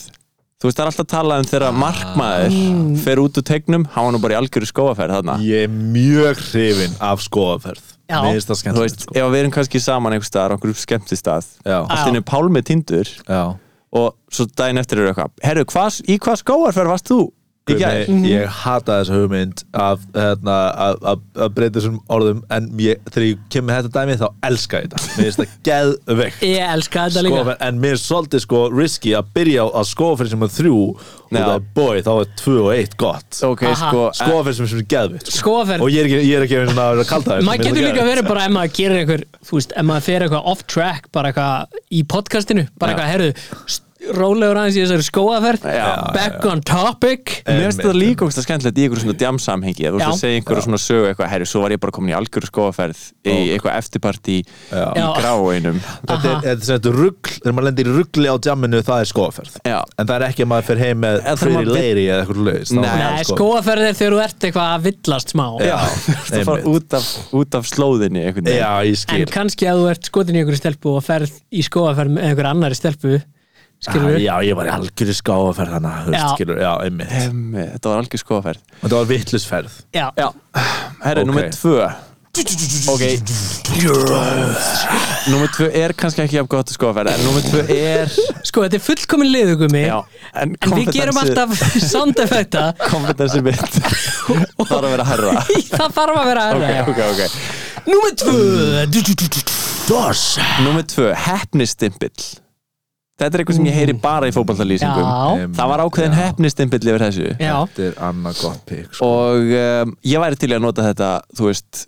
B: Þú veist, það er alltaf að tala um þegar markmaður fer út úr tegnum, hann var nú bara í algjöru skóarferð þarna
C: Ég er mjög hrifin af skoðaferð
D: Já.
C: Mér finnst það
B: Þú veist,
C: skemmtilegt sko
B: ef við erum kannski saman einhvers staðar, okkur skemmtistað
C: Já.
B: Allt inni pálmi tindur
C: Já
B: og svo daginn eftir eru eitthvað Herru, hvað, í hvað skóarferð varst þú? Í gær?
C: Guðni, Ég hata þessa hugmynd af, hérna, að- að að breyta þessum orðum en ég, þegar ég kem með þetta dæmi þá elska ég þetta Mér finnst það geðveikt
D: Ég elska þetta líka
C: skoðaferð en mér er svolítið sko riski að byrja á skoðaferð sem er þrjú og
B: Já.
C: það er boy, þá er tvö og eitt gott
B: Ok,
D: Aha.
B: sko, en,
C: skoðaferð sem sem er geðvitt
D: Skoðaferð.
C: og ég er ekki, ég er ekki einu sinni að vera að kalda
D: sko, maður getur líka verið bara ef maður gerir einhver þú veist, ef maður fer eitthvað off track bara eitthvað í podcastinu bara
B: Já.
D: eitthvað, herðu, st- rólegur aðeins í þessari skóaferð
B: Já, já,
D: back on topic
C: e-
B: mér finnst þetta líka ógst að skemmtilegt í einhverju svona djamsamhengi Þú veist
D: Já.
B: að segja einhverju svona sögu eitthvað Herru, svo var ég bara komin í algjöru skóarferð í eitthvað eftirparti í
D: Já.
B: gráinum
C: þetta er, þetta er þetta ruggl, þegar maður lendir í ruggli á djamminu það er skoðaferð
B: Já.
C: en það er ekki að maður fer heim með
B: En þegar
C: pretty
B: maður-
C: lady eða eitthvað laus
B: Nei.
D: Nei,
C: sko-
D: skóaferð er þegar þú ert eitthvað að villast smá
B: sko. Já, það fara
C: einmitt.
B: út af, út af slóðinni einhvern veginn.
C: já, ég
D: en
C: skil
D: kannski að þú ert skotin í einhverju stelpu og ferð í skóaferð með einhverju annari stelpu skilur
C: Ah, já, ég var í algjöru skáðaferð hana þú veist,
D: Já.
C: skilur, já, einmitt
B: Emmi, þetta var algjör skoðaferð
C: þetta var vittlusferð
D: já,
B: Herri,
C: Ok.
B: okay. nummer tvö Ok Númer tvö er kannski ekki jafn gott skoðaferð En númer tvö er
D: Sko, þetta er fullkomin liðugumi
B: já,
D: En við gerum alltaf sound effecta
B: Kompetensi mitt Það er að vera herra
D: Það þarf að vera
B: Ok,
D: aðra
B: ok, ok
D: Númer tvö
C: Dos
B: Númer tvö, hefnistimpill Þetta er eitthvað sem ég heyri bara í fótballalýsingum
D: Já,
C: Em,
B: Það var ákveðin
C: já.
B: hefnistimpill yfir þessu
D: já
C: Þetta er annað gott pick sko.
B: Og um, ég væri til í að nota þetta Þú veist,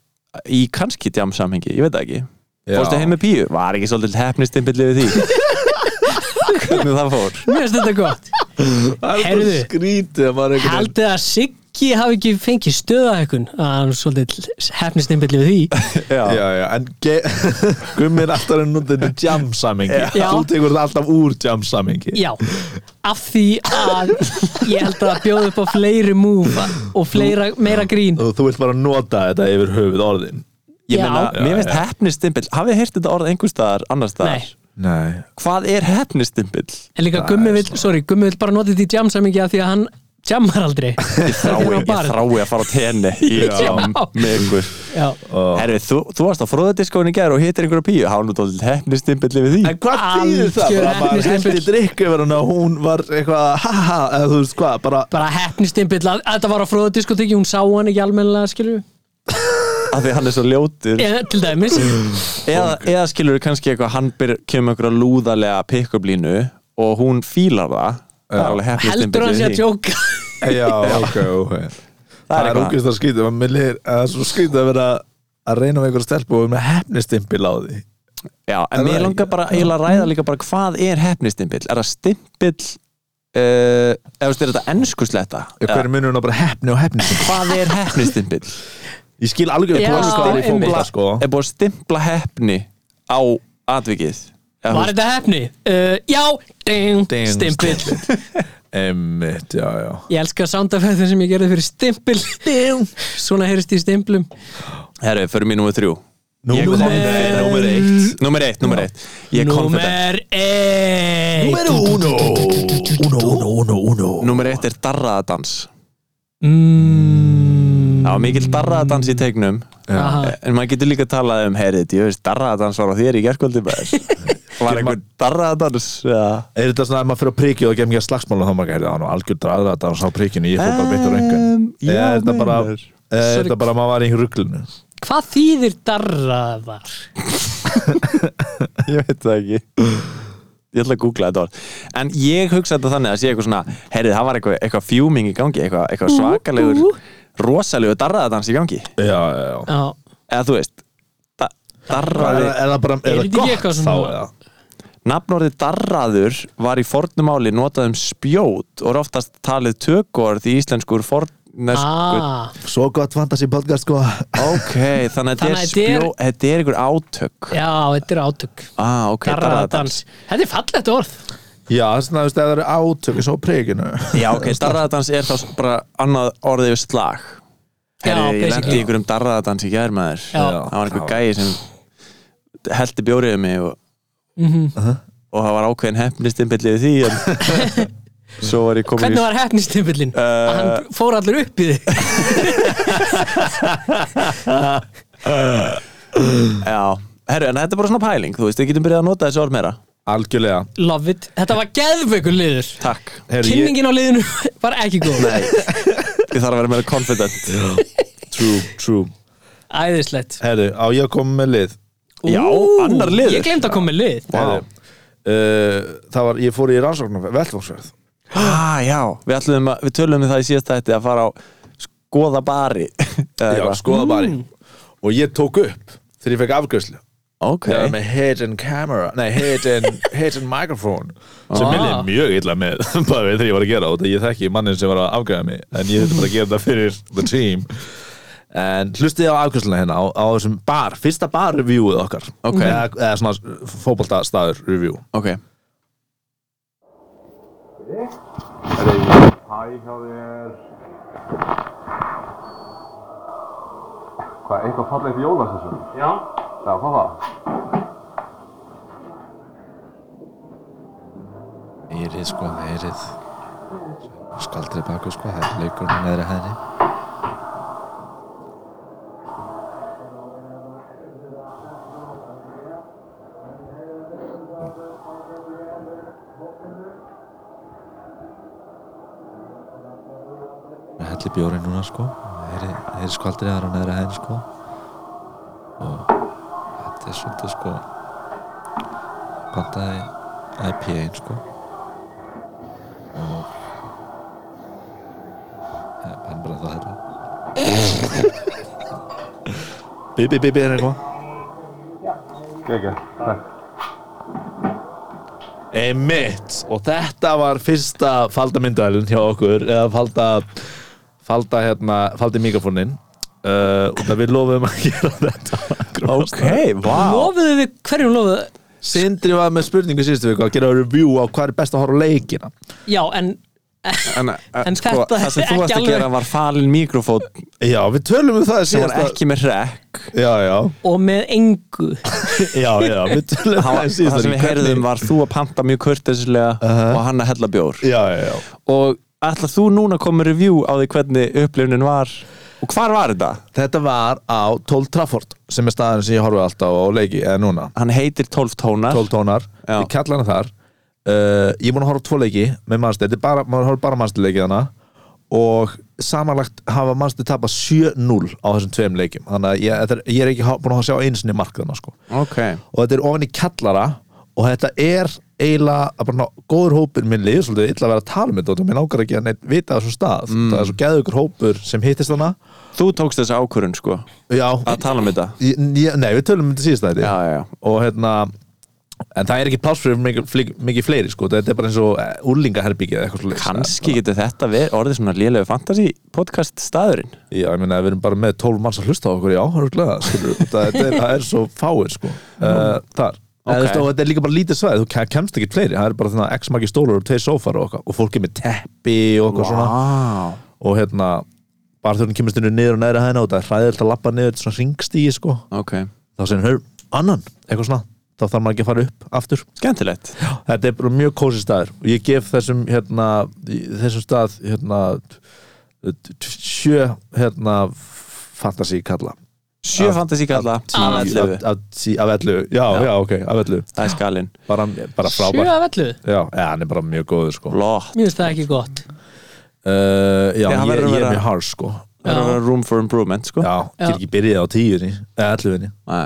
B: í kannski djám samhengi Ég veit það ekki
C: sko.
B: Fórstu heim með píu? Var ekki svolítið hefnistimpill yfir því Hvernig það fór
D: Mér finnst þetta gott
C: Það er
D: Heyrðu.
C: svo skrítið að maður einhvern veginn-
D: Haldið að Siggi hafi ekki fengið stöðahækun að hann er svolítið hefnistimbilli við því
C: Já, já, en ge- Gummi er alltaf að nota þetta jam samingi
D: Já.
C: Þú tekur þetta alltaf úr jam samingi
D: Já, af því að ég held að bjóða upp á fleiri múfa og fleira, meira grín
C: og þú vilt bara nota þetta yfir höfuð orðin
B: Ég
D: Já.
B: meina,
C: Já,
B: mér finnst
C: já.
B: hefnistimpill Hafið þið heyrt þetta orð einhvers staðar, annars staðar?
D: Nei,
C: Nei,
B: Hvað er hefnistimpill?
D: en líka
C: Það
D: Gummi
C: er
D: vill, sorry, Gummi vill bara nota þetta í jamsamingi af því að hann jammar aldrei
B: Ég þrái,
D: Þegar á
B: ég
D: barinn.
B: þrái að fara á tenni Í
D: Já.
B: jam með ykkur
D: Já,
B: Herri, þú, þú varst á fróðadiskóin í gerð og hittir einhverja píu Há nú tóðið hefnistimpill yfir því
C: En hvað þýðir það?
D: Algjör
C: Bara að maður
D: hefnistimpill.
C: hendi drikk yfir hana og hún var eitthvað ha ha, eða þú veist hvað, bara
D: bara hefnistimbill að að þetta var á fróðadiskotekki, hún sá hann ekki almennilega skilju,
B: af því hann er svo ljótur
D: eða til dæmis
B: eða, eða skilur þú kannski eitthvað hann byr, kemur einhverja lúðalega pick-up-línu og hún fílar það það er alveg
D: heldur hann sé að
B: hefnistimpill
D: tjóka
C: Já, ok, ok
B: Það
C: Það
B: er
C: er
B: eitthvað.
C: ógist að skýta, mér leir að það er svo skýta að vera að reyna við einhverja stelpu og vera með hefnistimpil á því
B: Já, en
C: Það
B: mér
C: er-
B: langar bara eiginlega að ræða líka bara hvað er hefnistimpill er það stimpill uh, eða veist, er þetta ennskusletta
C: Hver er munurinn á bara hefni og hefnistimpil?
B: hvað er hefnistimpill
C: Ég skil algjörlega
D: Já,
C: hvað þú skoðar í
D: einmitt.
C: fótbolta, sko
B: er búið að stimpla hefni á atvikið eða,
D: Var þetta hefni? Uh, já, ding,
C: Ding,
D: stimpill
C: Emmitt, já, já
D: Ég elska soundafæðin sem ég gerði fyrir stimpil Svona heyrist í stimplum
B: herru, förum í númer þrjú Ég
C: Númer-
B: kom-
C: Númer eitt
B: Númer eitt, númer eitt Ég kom þetta
D: Númer eitt
C: Númer uno Uno, uno, uno, uno
B: Númer eitt er darraðadans
D: mm,
B: Það var mikil darraðadans í tegnum
D: aha.
B: En maður getur líka talað um Herri, ég veist, darraðadans var á þér í gerkvöldi Var einhver darraðadans ja.
C: Er þetta svona að maður fyrir að prikið og gemja slagsmála þá maður gæti á nú algjör draðra að það sá prikinu ég fór bara beint á röngun
B: já,
C: Eða er þetta bara,
B: meinar.
C: eða er þetta bara að maður var í rugglinu
D: Hvað þýðir darraðar?
B: Ég veit það ekki Ég ætla að googla þetta orð En ég hugsa þetta þannig að sé eitthvað svona Herri, það var eitthvað, eitthvað fjúming í gangi Eitthvað, eitthvað svakalegur, rosalegur darraðadans í gangi
C: Já, já, já
D: Já,
B: Eða þú veist da,
C: Er,
B: Darraði
C: er það bara,
D: Er
C: er
D: þetta
C: það
D: ekki
C: gott
D: eitthvað
C: þá
D: svona-
C: eða?
B: Nafnorðið darraður var í fornumáli notað um spjót og er oftast talið tökorð í íslenskur fornesku.
D: ah,
C: Svo gott fantasy podcast sko
B: Ok, þannig
D: Þannig að
B: að þetta er
D: þetta er-
B: spjót, þetta er einhver átök.
D: já, þetta er átök
B: Ah, ok, darraðadans.
D: Darraðardans Þetta er fallegt orð
C: Já, svona þú veist, eða það eru átök svo prikinu
B: Já, ok, darraðadans er þá bara annað orðið við slag.
D: Já,
B: Herri, ég lendi í
D: basically.
B: einhverjum darraðadans í gær maður.
D: Já.
B: Það var einhver gæi sem heldi bjóriðið mig og,
D: Mhm.
B: og það var ákveðin hefnistimbilliðið því. En... Svo var ég komin í...
D: Hvernig var hefnistimpillin?
B: Eh.
D: Uh, hann fór allir upp í þig
B: Já, herru, en þetta er bara svona pæling, þú veist, við getum byrjað að nota þessi orð meira.
C: Algjörlega
D: Love it Þetta var geðveikur liður
B: Takk
C: Heyrðu, ég-
D: Kynningin á liðinu var ekki góð
B: Nei, ég þarf að vera meira confident
C: True, true
D: Æðislegt
C: Herru, á ég að koma með lið
B: Já,
D: Ú,
B: annar liður.
D: Ég glemt að koma með lið
B: Vá.
C: Herru, uh, Það var, ég fór í rannsóknum Veltfóksverð
B: ah, Já, við, ætlum, við tölum við það í síðasta þetta að fara á skoða bari Eða
C: Já,
B: eitthvað.
C: skoða bara Og ég tók upp þegar ég fekk afgjörslu
B: Ok,
C: okay. með hidden camera nei, hidden, hidden microphone sem
D: Ah.
C: mér er mjög illa með bara við þegar ég var að gera og þetta ég þekki mannin sem var að afgæða mig en ég þurfti bara að gera þetta fyrir the team en hlustið á afgjöðsluna hérna á, á þessum bar, fyrsta bar reviewið okkar
B: Ok.
C: eða, eða svona fótboltastaður review
B: ok
E: Hæ hjá þér Hvað, eitthvað fallið til jólasessum? Já Já, hvað það?
F: Eyrið sko, eyrið Skaldrið baku sko, það er leikurinn neðri hæðinni allir bjórið núna sko þeir, þeir sko aldrei aðra neðra hæðin sko og þetta er svolítið sko pantaði IPA-in sko og það er bara það þetta
C: Bibi, bibi er eitthvað
E: Gekja, takk.
C: Einmitt Og þetta var fyrsta faldamyndalinn hjá okkur eða falda falda hérna, faldi mikrofónin uh, og það við lofum að gera þetta
B: Ok, vá
D: Lofuðu þið, hverjum lofuðu?
C: Sindri var með spurningu síðustu viku að gera review á hvað er best að horfa á leikina
D: Já, en
B: En,
D: En
B: sko,
D: þetta er
B: það sem þú
D: ekki
B: varst að
D: alveg-
B: gera var falin mikrofót
C: Já, við tölum um
B: sem
C: það
B: var
C: síðasta
B: ekki með rekk
C: Já, já,
D: og með engu
C: já, já, við tölum um
B: Það
C: það
B: var-
C: í
B: það sem við
C: síðasta viku. Hvernig-
B: heyrðum var þú að pampa mjög kurtislega og hann að hella bjór
C: Já, já, já
B: og ætlað þú núna að koma með review á því hvernig upplifunin var og hvar var þetta?
C: Þetta var á 12 Trafford sem er staðan sem ég horfið alltaf á leiki eða núna
B: Hann heitir 12 tónar
C: 12 tónar,
B: Já.
C: ég kalla hana þar uh, ég er búin að horfa á tvo leiki með mannstu, þetta er bara, maður horfa bara mannstu leikið hana og samanlagt hafa mannstu tapað 7-0 á þessum tveim leikjum, þannig að ég, þetta er, ég er ekki há- búin að sjá einu sinni mark þarna sko
B: Ok
C: og þetta er ofan í kallara og þetta er eiginlega bara ná, góður hópur minn líður svolítið illa að vera að tala með þetta og mér nákar ekki að neitt vita af þessum stað
B: Mm.
C: það er svo geðugur hópur sem hittist hana
B: Þú tókst þessa ákvörun sko
C: já,
B: að tala um þetta
C: ég, ég- nei við tölum um þetta síðast þetta
B: Já, já, já
C: og hérna en það er ekki pláss fyrir mikið, flik- mikið fleiri sko, þetta er bara eins og eh, úrlingaherbyggið eða eitthvað svolítið
B: Kanski getur þetta ver- orðið svona lélegu fantasy podcast staðurinn
C: Já, ég meina, við erum bara með 12 manns að hlusta á okkur í áhöruglega, skilur það, það, er, það er svo fáir, sko uh, þar
B: Ok.
C: okay. veist, og þetta er líka bara lítið svæð, þú ke- kemst ekki fleiri það er bara þannig að x margir stólar og tveir sófar og, okkar, og fólk er með teppi og okkur svona
B: Vá
C: og hérna, bara þegar hún kemur stundu niður og neðra hæðina og það er hræðilt að lappa niður svona ringstígi, sko,
B: Ok
C: þá segir hún, hör, annan eitthvað svona, þá þarf maður ekki að fara upp aftur
B: Skemmtilegt
C: þetta er bara mjög kósi staður og ég gef þessum hérna, í- þessum stað hérna, t- t- sjö hérna, fantasí kalla
B: Sjö
C: Af-
B: fantasy kalla af
C: Af-
B: ellefu.
C: af- af- af ellu, já,
B: Já.
C: já, ok, af ellu
B: Það er skalinn
C: bara, bara
D: sjö
C: frábær
D: af ellu
C: já, ja, hann er bara mjög góður sko uh,
B: Blott
D: Mér finnst það ekki gott
C: já,
B: Nei, hann verður að
C: ég, ég er
B: vera-
C: mjög hars sko
B: Það er að
D: Já.
B: vera room for improvement sko
C: já,
D: Já.
C: ég er ekki byrjaði á tíunni eða elluðinni
B: Nei.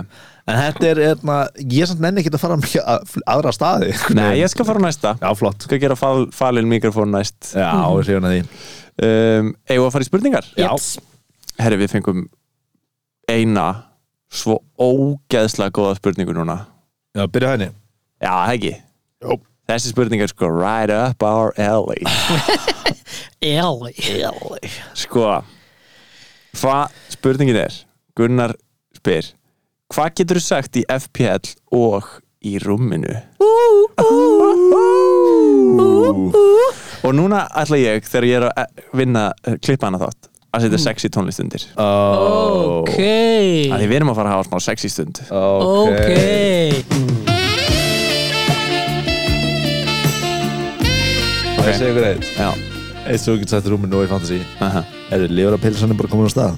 C: en þetta er, hérna, ég samt nenni ekki að fara mikið að- aðra staði
B: Nei, ég skal fara á næsta
C: já, flott,
B: Skal gera fal, falin mikrofón næst
C: já, ég sé hann að því
B: um, Eigum við að fara í spurningar?
C: já,
B: Herri, við fengum eina svo ógeðslega góða spurningu núna
C: já, byrja henni
B: Já, það ekki
C: Jó.
B: Þessi spurning er sko right up our alley
D: Eli Eli
B: Sko Hvað spurningin er Gunnar spyr Hvað getur þú sagt í FPL og í rúminu? Og núna ætla ég þegar ég er að eh, vinna eh, klippa hana þátt að setja sexy tónlist undir
C: Ah. oh,
D: Ok
B: að því við erum að fara að hafa smá sexy stund
C: Ah.
D: Ok
C: Það okay. segir ykkur eitt
B: Já,
C: Eitt svo getur sett rúmið nú í fantasy
B: aha
C: Er þið lifur að pilsan er bara komin á stað?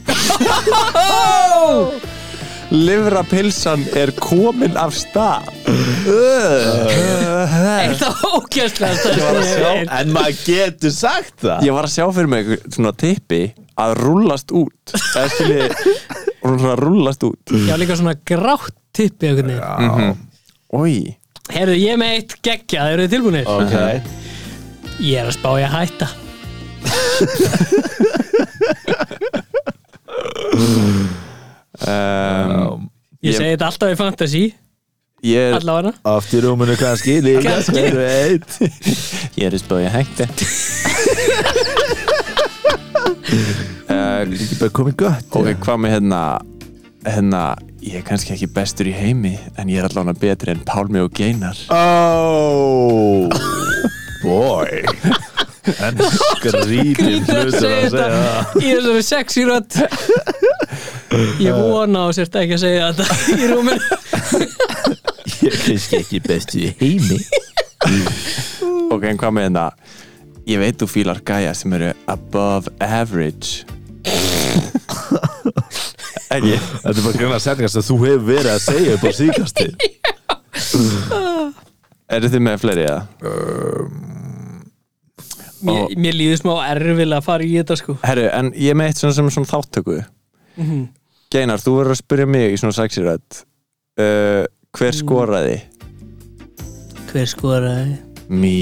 B: Livrapilsan er komin af stað
D: Þetta var ógæslega stærst
C: En maður getur sagt það
B: Ég var að sjá fyrir mig einhver svona tippi að rúllast út Það skilji, hún svona rúllast út
D: Já, líka svona grátt tippi einhvern veginn.
B: Ói,
D: Herðu, ég er með eitt geggja, það eru þið tilbúinir
C: Ok
D: Ég er að spá ég að hætta
C: um,
D: Ég
B: Ég-
D: segi þetta alltaf í fantasy
B: ehm, ég er,
D: Allavega
C: Oft í rúminu kannski líka
D: Kannski.
C: Hver veit
B: ég er í spöði hætti uh,
C: Ég bara komið gött
B: Ok, hvað með hérna hérna, ég er kannski ekki bestur í heimi en ég er allavega betri en Pálmi og Geinar
C: Oh Boy En skrítið
D: Skrýtið að
C: hlutur
D: segja
C: að segja það.
D: þetta Í þessari sexy rödd Ég vona á sért ekki að segja þetta í rúminu
C: Ég er kannski ekki bestu í heimi
B: Ok, en hvað með hérna Ég veit þú fílar gæja sem eru above average Ekki
C: Þetta er bara grunna setningar sem þú hefur verið að segja upp á síkasti
B: Eru þið með fleiri eða?
D: mér, mér líður smá erfilega að fara í þetta sko
B: Herru, en ég er með eitt svona sem er svona þáttöku
D: Mhm.
B: Geinar, þú verður að spyrja mig í svona sexirödd uh, Hver
D: Mm.
B: skoraði?
D: Hver skoraði?
B: Mí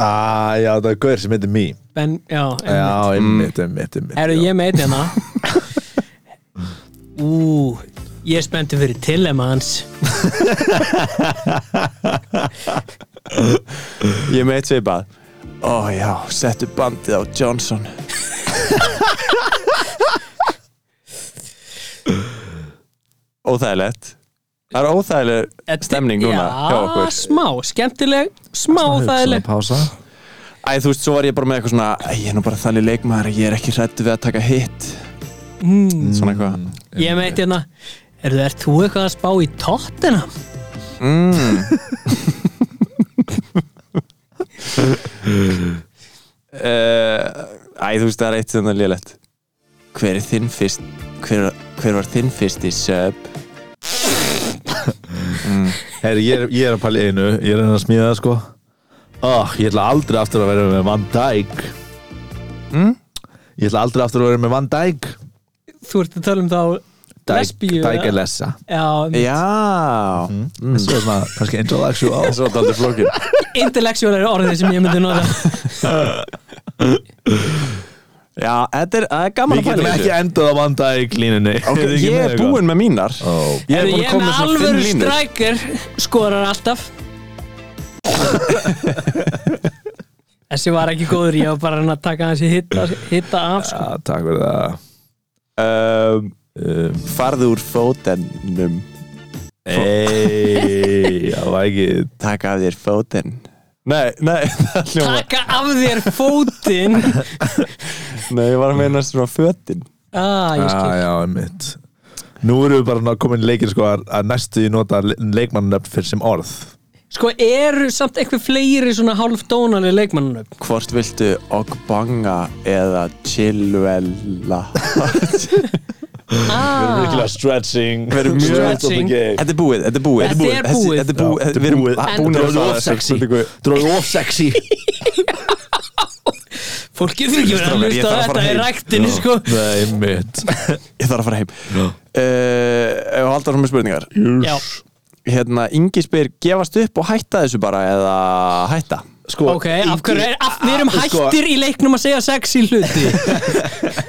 C: ah, já, það er gaur sem heitir Mí
D: Ben, já, já.
C: Já, einmitt, einmitt, einmitt
D: Herru,
C: já.
D: ég meit hérna Ú, ég er spenntur fyrir tilema hans
B: Ég er með eitt svipað Ó já, settu bandið á Johnson Óþægilegt Það er óþægileg stemning núna hjá
D: Já,
B: okkur
D: smá, skemmtileg, smá
F: Svona
D: þægileg
F: pása
B: Æ, þú veist, svo var ég bara með eitthvað svona Æ, ég er nú bara þannig leikmaður að Ég er ekki hrættu við að taka hitt
D: mm,
B: Svona eitthvað
D: Ég meit hérna Erðu, ert þú eitthvað að spá í tóttina?
B: uh, Æ, þú veist, það er eitt sem það er lélegt Hver er þinn fyrst Hver, hver var þinn fyrsti sub?
C: Herri, ég, er- ég er að pæla í einu Ég er að reyna að smíða það, sko oh, Ég ætla aldrei aftur að vera með Van Dijk
B: Mm?
C: Ég ætla aldrei aftur að vera með Van Dijk
D: Þú ert að tala um þá
C: Dijk,
D: Lesbíu,
C: Dijk
D: eða?
C: er lessa
D: Já,
B: Já
C: mm. Svo er svona, kannski intellectual
B: Svo er aldrei flókin
D: intellectual er orðið sem ég myndi nota
B: Já, þetta er, það er gaman að pæla
C: Við getum
B: í
C: ekki
B: þessu
C: endað á Van Dijk línunni
B: okay, Ég er búinn með mínar
C: oh.
B: Ég er
D: Herru,
B: búinn
D: ég
B: að
D: er
B: koma
D: með
B: með svona fimm
D: alvöru
B: línur
D: strækir skorar alltaf Þessi var ekki góður ég var bara að reyna að taka þessi hitta, hitta af sko.
C: ja, Takk fyrir það
B: um,
C: um,
B: Farðu úr fótennum
C: Ey, það var ekki
B: Takk af þér fótenn Nei, nei, það hljóma
D: Taka af þér fótinn
B: Nei, ég var að meina svona fötinn
D: ah, ég
C: Já,
D: skil.
C: já, mitt Nú erum við bara komin í leikir sko að að næstu í nota leikmannlöfn fyrir sem orð
D: Sko eru samt eitthvað fleiri svona hálf dónali leikmannunum
B: Hvort viltu Ogbanga eða Chilwella
D: ah,
C: Mikla stretching
B: Við erum mjög-
D: Stretching.
B: Þetta er búið, þetta er búið
D: Þetta er búið.
B: Þetta er búið,
C: Já,
B: þetta er búið. Við
C: þetta
D: er
B: erum búin að
D: búið.
B: svara þessu spurningu.
C: Dróðu of sexy
D: Fólk getur ekki verið að
B: Strákar, ég
D: hlusta á
B: þarf að
D: þetta
B: fara
D: í
B: heim.
D: ræktinni sko
C: Nei, mitt
B: Ég þarf að fara heim uh, Og halda svona með spurningar
D: Já,
B: Hérna, Ingi spyr, gefast upp og hætta þessu bara eða hætta
C: Sko,
D: ok, af hverju er, af, við
B: Ah,
D: erum
C: Sko-
D: hættir í leiknum að segja sex í hluti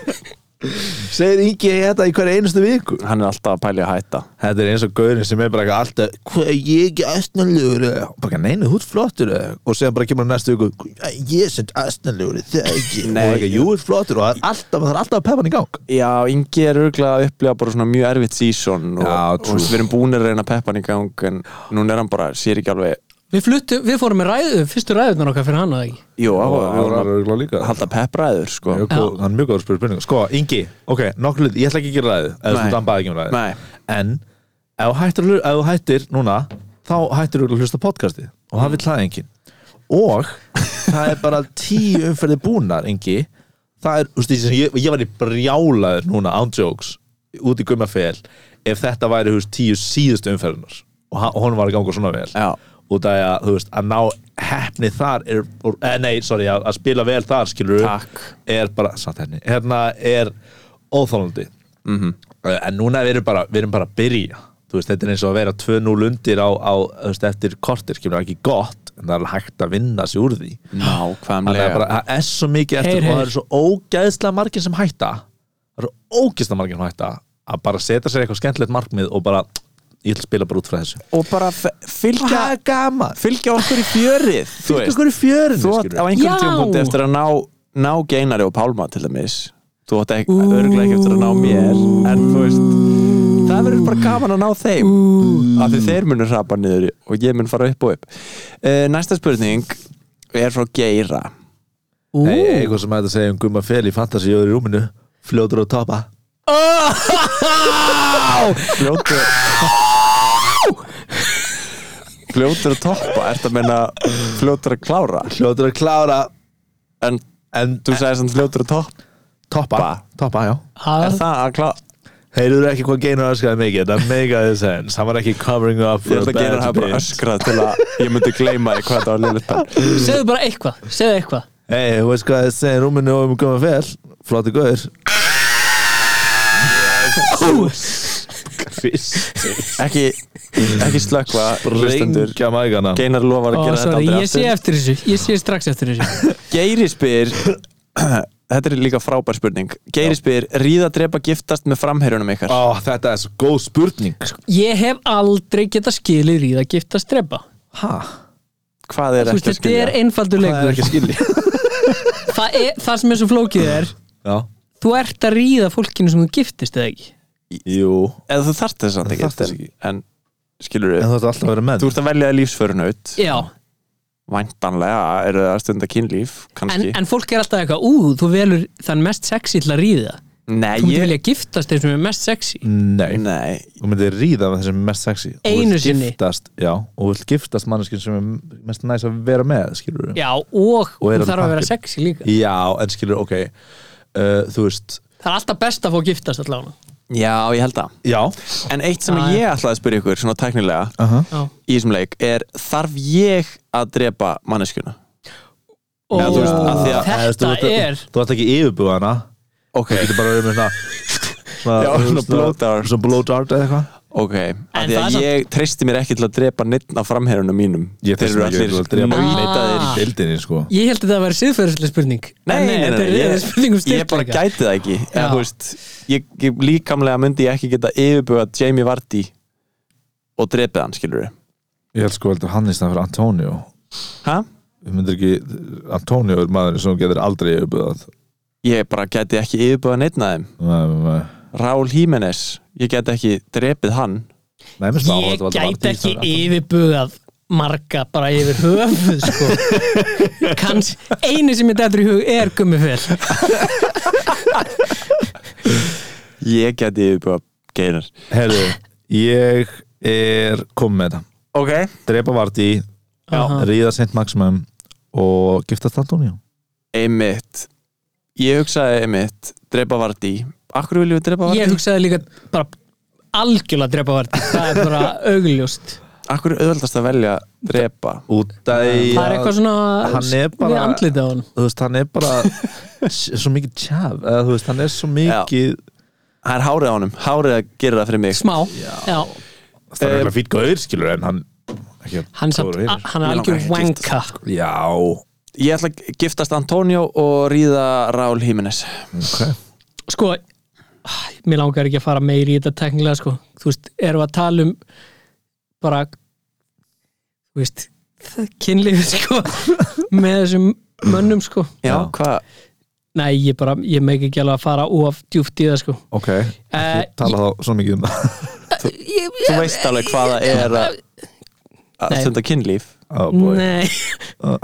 C: segir Ingi þetta í hverju einustu viku
B: Hann er alltaf að pæli að hætta
C: Þetta er eins og gaurin sem er bara eitthvað alltaf Hvað er ég ekki aðstæðanlegur Bara neina, þú ert flottur eða?" Og segja bara kemur hann næstu viku "Hvað, Ég er sem aðstæðanlegur, það er ekki
B: Nei.
C: Og ekki, jú, þú ert flottur Og það er alltaf, það er alltaf að peppa hann í gang
B: Já, Ingi er örgulega að upplega bara svona mjög erfitt season og,
C: Já,
B: og
C: true.
B: veist, við erum búin að reyna að peppa hann í gang en núna er hann bara, sér ekki alveg
D: Við fluttum, við fórum með ræðu, fyrstu ræðunar okkar fyrir hann að ekki
B: Jó, á, við vorum að
C: örugglega líka
B: halda peppræður sko.
C: Mjög góð, hann er mjög góður spurning Sko, Ingi, ok, nokkuð hlut, ég ætla ekki að gera ræðið eða
B: Nei.
C: þú dambaði ekki um ræðið
B: Nei,
C: En, ef þú hættir, að hlu- ef þú hættir núna þá hættir þú að hlusta á podcastið og það vil það enginn og það er bara tíu umferði búnar Ingi það er, þú veist, ég- ég, ég var í brjálaður núna án jokes, út í gummafél ef þetta væri, þú veist, tíu síðustu umferðunar og hann- og honum var að ganga svona vel
B: já,
C: út af því að, þú veist, að ná hefni þar er, or, eh, nei, sorry, að, að spila vel þar, skilur
B: Takk.
C: er bara, satt henni, hérna er óþálandi
B: Mhm.
C: -hmm. en núna við erum bara, við erum bara að byrja þú veist, þetta er eins og að vera 2-0 undir á, á, þú veist, eftir kortir, skilur ekki gott, en það er hægt að vinna sér úr því Þannig að
B: nákvæmlega
C: bara, það er svo mikið
D: Heyr,
C: eftir og það
D: heyr.
C: eru svo ógæðslega margir sem hætta það eru ógæðslega margir sem hætta að bara setja sér eitthvað skemmtilegt markmið og bara, ég ætla að spila bara út frá þessu
B: Og bara f-
C: og það
B: fylgja,
C: er gaman
B: fylgja okkur í fjörið Þú veist,
C: í fjörinu
B: þú átt á einhverjum
D: Já.
B: tímapunkti eftir að ná, ná Geinari og Pálma til dæmis Þú átt ekki, örgulega ekki eftir að ná mér En þú veist, það verður bara gaman að ná þeim Af því þeir munur hrapa niður og ég mun fara upp og upp uh, Næsta spurning er frá Geira
D: Ú,
C: Nei, eitthvað sem hægt að segja um Gumma Fel í Fantasí og í rúminu fljótur og topa
B: Fljótur Fljótur að toppa, ertu að meina fljótur að klára
C: fljótur að klára
B: En
C: en
B: þú sagði samt fljótur að toppa
C: toppa, toppa, já
D: að-
B: Er það að klára?
C: heyrður ekki hvað Geinar öskraði mikið þetta make a sense, hann var ekki covering up
B: Ég
C: for
B: ætla
C: a
B: að gera það
C: bad
B: bara
C: bit
B: öskrað til að ég myndi gleyma því hvað það var liðlegt
D: segðu bara eitthvað, segðu eitthvað
C: hey, þú veist hvað þið segir rúminu og um komað fel flotti góður
B: Ekki, ekki slökva hlustendur
C: reynga mægana
B: Geinar lofar
D: Ó,
B: að gera þetta
D: sorry,
B: aldrei
D: ég sé
B: aftur
D: eftir þessu, ég sé strax eftir þessu
B: Geiri spyr Þetta er líka frábær spurning Geiri spyr, ríða, drepa, giftast með framherjunum ykkar
C: Ó, þetta er svo góð spurning
D: ég hef aldrei getað skilið í það að gifta strepa
C: ha?
B: Hvað er
D: Þú veist,
B: ekki að
D: þetta er
B: skilja?
D: einfaldur
C: það er
D: leikur
C: ekki að skilja
D: það, er, það sem er svo flókið er
C: já,
D: þú ert að ríða fólkinu sem þú giftist eða ekki
C: jú
B: Eða þú þarft þess að
C: Þú þarft
B: þetta
C: þess
B: ekki En skilur
C: en
B: við
C: þú ætti alltaf að vera með
B: Þú ert að velja lífsförunaut
D: já,
B: Væntanlega eru það að stunda kynlíf
D: en,
B: Kannski
D: en fólk er alltaf eitthvað ú, þú velur þann mest sexy til að ríða
B: Nei,
D: þú myndir
B: ég Mm.
D: vilja giftast þeim sem er mest sexy
C: nei,
B: Nei,
C: þú myndir ríða með þessum mest sexy Þú
D: Einu
C: vilt
D: sinni.
C: giftast, já, og vilt giftast manneskinn sem er mest næs að vera með skilur
D: já, og,
C: Og er
D: þú
C: hann
D: þarf að vera
C: pakkinn?
D: sexy líka
C: en skilur, ok uh, þú veist,
D: það er alltaf best að fá giftast allavega
B: já, ég held að
C: já
B: En eitt sem
D: Ah, Já, Ah. já.
B: ég ætlaði að spyrja ykkur, svona tæknilega
D: Já.
B: í þessum leik, er þarf ég að drepa manneskjuna?
D: og
B: þú veist, af því
D: þetta
B: að-
C: Eða, Eh, þú veist, þú-
D: er
C: þú ætti ekki yfirbúið hana
B: Ok,
C: þú getur bara verið með svona svona,
B: Já,
C: þú veist,
B: svona blow dart.
C: svona blow dart eða eitthvað
B: ok Af því
D: það er
B: að
D: samt-
B: ég treysti mér ekki til að drepa neitt af framherjunum mínum Þeir
C: Ég treysti
B: eru
C: mér ekki
B: allir
C: til að drepa-
B: nöytaðir
D: Ah.
C: deildinni sko
D: ég held að það væri siðferðislega spurning
B: Nei, nei, nei,
D: þetta
B: nei,
D: er- þetta er spurning um
B: ég, ég bara
D: styrkleika
B: gæti það ekki en,
D: Já.
B: þú veist, ég, ég, Líkamlega myndi ég ekki geta yfirbuga Jamie Vardy og drepið hann, skilur við
C: ég held sko heldur hann í stað fyrir Antonio
B: Hæ?
C: við myndir ekki, Antonio er maðurinn sem þú getur aldrei yfirbúið
B: Ég bara gæti ekki yfirbuga neitt af þeim
C: nei,
B: Raúl Jiménez, ég gæti ekki drepið hann
C: nei, mér finnst það
D: ég
C: áhugavert að valda
D: gæti
C: Vardí,
D: ekki
C: það er Antonio.
D: yfirbugað marga bara yfir höfuð sko. kanns einu sem ég dættur í hug er gummifel
B: Ég gæti yfirbuga geinar
C: Herru, ég er komið með þetta
B: Ok,
C: Drepa Vardí,
D: Aha.
C: ríða Saint Maximum og giftast Antonio
B: einmitt ég hugsaði einmitt drepa Vardí Akkur viljum við drepa
D: ég
B: Vardí?
D: hugsaði líka bara algjörlega drepa vart það er bara augljóst
B: Akkur er auðvöldast að velja drepa
C: út að
D: það er eitthvað
C: hann
D: svona
C: er bara-
D: við andlita á hann
C: þú veist, hann er bara svo mikið tjaf, eða þú veist, hann er svo mikið
B: Það er hárið á honum, hárið að gera það fyrir mig
D: smá, já
C: það er eitthvað fýtt góður, skilur, en hann Eh, ekki,
D: hann, samt,
C: góður vinur.
D: hann er
B: Mig langar
D: algjör
B: ekki að giftast,
D: wanka
C: já,
B: Ég ætla að giftast Antonio og ríða Raúl Jiménez
C: ok
D: sko ah, mér langar ekki að fara meiri í þetta teknilega sko, þú veist, erum við að tala um bara þú veist, það kynlífi sko, með þessum mönnum sko,
B: Já,
C: Já.
B: hvað?
D: nei ég bara ég meik ekki alveg að fara of djúpt í það sko
C: Ok,
D: Eh,
C: ekki tala þá svo mikið um það
D: ég,
B: Þú veist alveg hvað það er að að
D: Nei.
B: stunda kynlíf
C: oh boy.
D: nei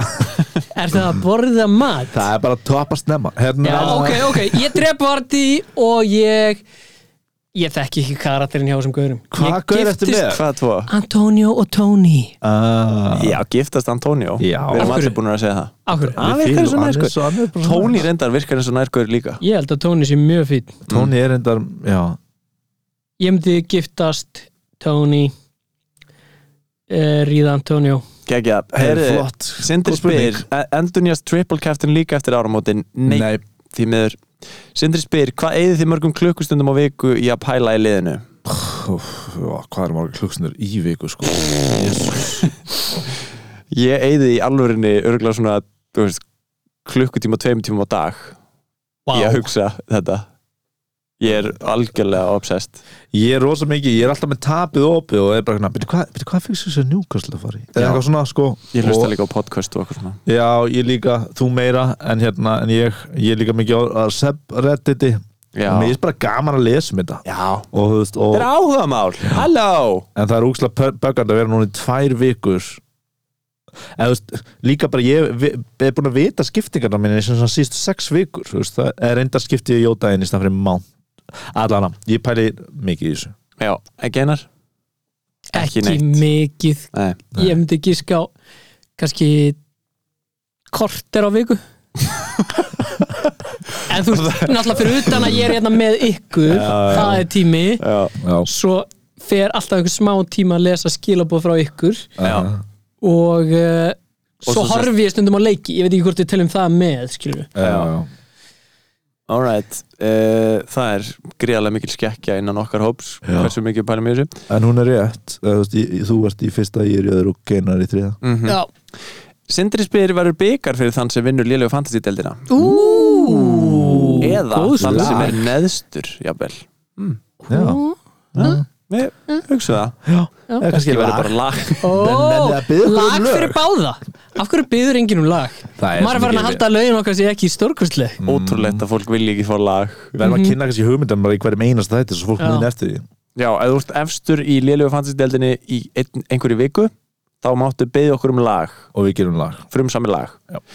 D: er það að borða mat?
C: Það er bara að topa snemma hérna,
D: já, ok, ok, ég drep varti og ég ég þekki ekki karakterinn hjá þessum gaurum
C: Hvaða
D: Ég
C: gaur ertu
D: giftist
C: með?
B: Hvað tvo?
D: Antonio og Tony
C: uh,
B: Já, giftast Antonio
C: Já.
D: Af
B: Við erum
D: hverju?
B: allir búin að segja það
D: Akkur,
B: Hann virkar eins og nærkur.
D: sko.
C: nærkur
B: Tony reyndar virkar eins og nærkur líka
D: Ég held að Tony sé mjög fýtt
C: Tony er reyndar, já
D: Ég myndi giftast Tony uh, Ríða Antonio
B: Gægja,
C: Heyrðu,
B: heyrðu,
C: flott.
B: Sindri
C: Góð spurning.
B: spyr Endunjas triple captain líka eftir áramótin Nei,
C: Nei.
B: því miður Sindri spyr, hvað eigið þið mörgum klukkustundum á viku í að pæla í liðinu?
C: Ó, Hvað er margir klukksnur í viku sko Jesus.
B: Ég eigið í alvörinni örgulega svona þú veist, klukkutíma, tveim tímum á dag ég að hugsa þetta Ég er algjörlega obsessed
C: Ég er rosa mikið, ég er alltaf með tapið opið og er bara hérna, byrju hvað, byrju hvað fyrst þessi njúkastlega fari? Eða
B: Já.
C: eitthvað svona sko
B: Ég hlusta
C: Og-
B: líka á podcast og okkur svona
C: Já, ég líka, þú meira en hérna, en ég, ég er líka mikið á að seb redditi,
B: Já,
C: mér er bara gaman að lesa um þetta
B: Já.
C: og þú veist, og
B: Þetta er áhuga mál, halló
C: en það er úkslega böggand að vera núna í tvær vikur eða þú veist, líka bara ég vi- er búin að vita skiptingarna minni sem svona síst sex vikur, þú veist, það er enda skiptið í jótaðin í stað fyrir mán allana, ég pæli mikið í þessu
B: Já, ekki einar?
D: Ekki,
B: ekki neitt.
D: mikið
B: Nei,
D: Ég myndi gíska á kannski korter á viku en þú veist, náttúrulega fyrir utan að ég er hérna með ykkur það er tími
C: já,
D: svo fer alltaf einhver smá tíma að lesa skilaboð frá ykkur
B: Já.
D: og uh, svo,
B: svo sest-
D: horfi ég stundum á leiki ég veit ekki hvort við telum það með skilur
C: já, já.
B: Alright, uh, það er gríðarlega mikil skekkja innan okkar hóps
C: Já.
B: hversu mikið pælum í þessu
C: en hún er rétt eða, þú, veist, í, þú varst í fyrsta, ég er í öðru og Geinar í þriða
D: mm. já,
B: Sindri spyr verður byggar fyrir þann sem vinnur lélegu fantasy-deldina eða
D: góð
B: þann
D: slag.
B: sem er neðstur jafnvel,
C: já,
D: Mm.
B: við hugsa það
C: eða kannski
B: ég verður bara lag
C: Nenni að biðja okkur um
D: lag
C: lög.
D: fyrir báða af hverju byður enginn um lag
C: Það er
D: maður
C: svo
D: er farin að
C: mikið-
D: halda að lögin okkar sé ekki stórkvistleg
B: ótrúlegt að fólk vilji ekki fá lag
C: verðum að kynna kannski hugmyndum bara í hverjum einasta þætti svo fólk
D: Mhm. Já.
C: muni eftir því
B: já, ef þú ert efstur í lélegu fantasy-deldinni í ein, einhverju viku þá máttu byggja okkur um lag
C: og við gerum lag
B: frumsami lag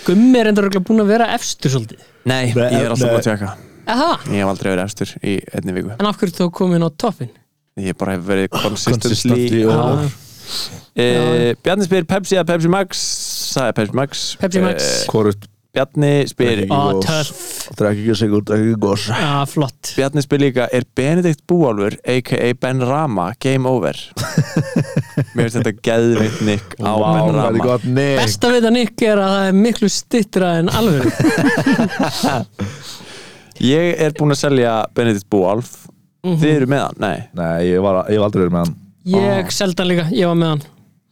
D: gummi er endur búin að vera efstur svolítið
B: Nei,
C: Nei,
B: ég er alltaf búin
C: nei.
B: að tjekka
D: Aha.
B: Ég hef aldrei verið efstur í einni viku
D: en af hverju þú komin á toppin
B: Ég bara hef verið
C: Consistently
B: consistently
C: og-
D: Ah,
B: hár. Eh, Bjarni spyr Pepsi eða Pepsi Max Það er Pepsi Max
D: Pepsi Max.
B: Eh,
C: hvort
B: Bjarni spyr
C: Jú.
D: á töff,
C: drekki ekki sigur, drekki ekki gos
D: á flott
B: Bjarni spyr líka Er Benedikt Búálfur a.k.a. Ben Rama Game over Mér finnst þetta geðveitt nick á Ben
C: það er
B: Rama
C: gott nek
D: besta við það Nick er að það er miklu stittra en alveg
B: Ég er búinn að selja Benedikt Búálf
C: Mhm.
B: Þið eru með hann? Nei,
C: nei, ég var, ég var aldrei verið með hann
D: Mhm.
C: Ah.
D: ég seldi hann líka, ég var með hann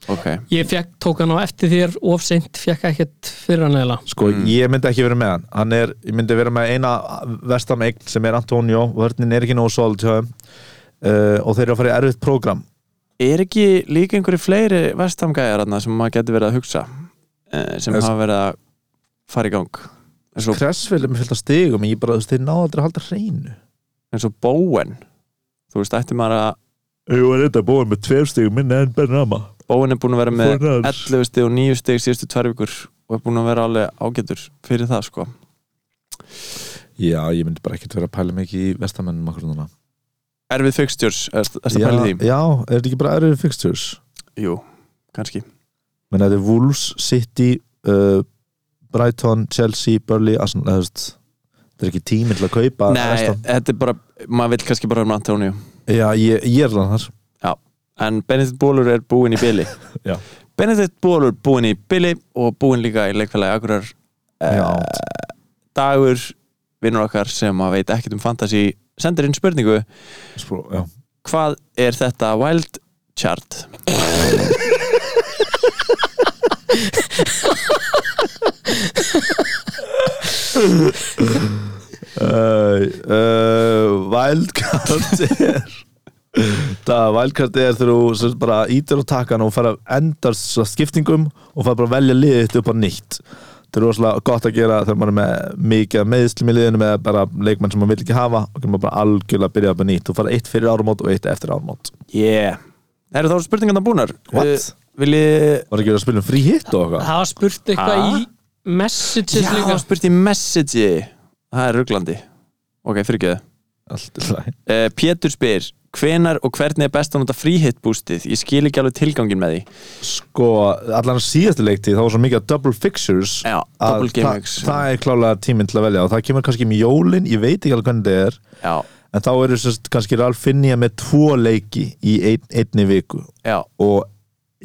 B: ok
D: ég fekk, tók hann á eftir þér of seint, fekk ekkert fyrir hann eða
C: sko, ég myndi ekki verið með hann, hann er, ég myndi verið með eina vestam eign sem er Antonio vörnin er ekki nógu solid hjá þeim uh, og þeir eru að fara í erfitt prógram
B: Er ekki líka einhverju fleiri vestamgæjar þarna sem maður getur verið að hugsa eh, sem
C: Þess-
B: hafa verið að fara í gang eins og,
C: Kressvel er með fyllt að stigum en ég bara, þú veist, þeir náðu aldrei að halda hreinu
B: eins og Bowen þú veist, ætti maður að
C: Jú, er þetta búin með tveir stigum minna en Benrama
B: Bowen er búin að vera með
C: Fór nær.
B: 11 stig og 9 stig síðustu tvær vikur og er búin að vera alveg ágætur fyrir það sko
C: Já, ég myndi bara ekkert vera að pæla mikið í vestamennum akkur núna
B: Erfið fixtures, er það
C: já,
B: pælið því?
C: já, er þetta ekki bara erfið fixtures?
B: Jú, kannski
C: menn þetta er Wolves, City uh, Brighton, Chelsea, Burnley Arsenal, eða þú veist þetta er ekki tími til að kaupa
B: Nei,
C: West Ham.
B: þetta er bara, maður vill kannski bara um Antonio
C: já, ég, ég er alveg þar
B: en Benedikt Bólur er búin í byli
C: Já.
B: Benedikt Bólur búin í byli og búin líka í leikfélagi Akurar Eh,
C: já,
B: dagur vinnur okkar sem að veit ekkert um fantasy sendir inn spurningu
C: spró, já.
B: hvað er þetta wild chart
C: Uh, uh, Wildcard er það Wildcard er þegar þú sem sagt bara ítir og takkan og fer að endar skiptingum og fer bara að velja liðið þitt upp á nýtt þetta er rosalega gott að gera þegar maður er með mikið af meðslum í liðinu með bara leikmenn sem maður vil ekki hafa og maður bara algjörlega byrja upp á nýtt og fara eitt fyrir árumót og eitt eftir árumót
B: yeah eru þá eru spurningarna búnar
C: What?
B: Eh, viljið
C: var ekki verið að spila um frí hitt og eitthvað
D: það var spurt eitthvað
B: Ha?
D: í messages
B: Já,
D: líka
B: hann spurt í message það er rugglandi ok, fyrirgeðu
C: allt í lagi
B: uh, Pétur spyr hvenar og hvernig er best að nota fríhitt bústið ég skil ekki alveg tilgangin með því
C: sko, allan síðastu leiktíð þá var svo mikið að double fixtures
B: já,
C: að
B: double game
C: það,
B: weeks
C: það er klálega tíminn til að velja og það kemur kannski með jólin, ég veit ekki alveg hvernig þetta er
B: já,
C: en þá eru sérst, kannski Ralf Finnja með tvo leiki í ein, einni viku
B: já,
C: og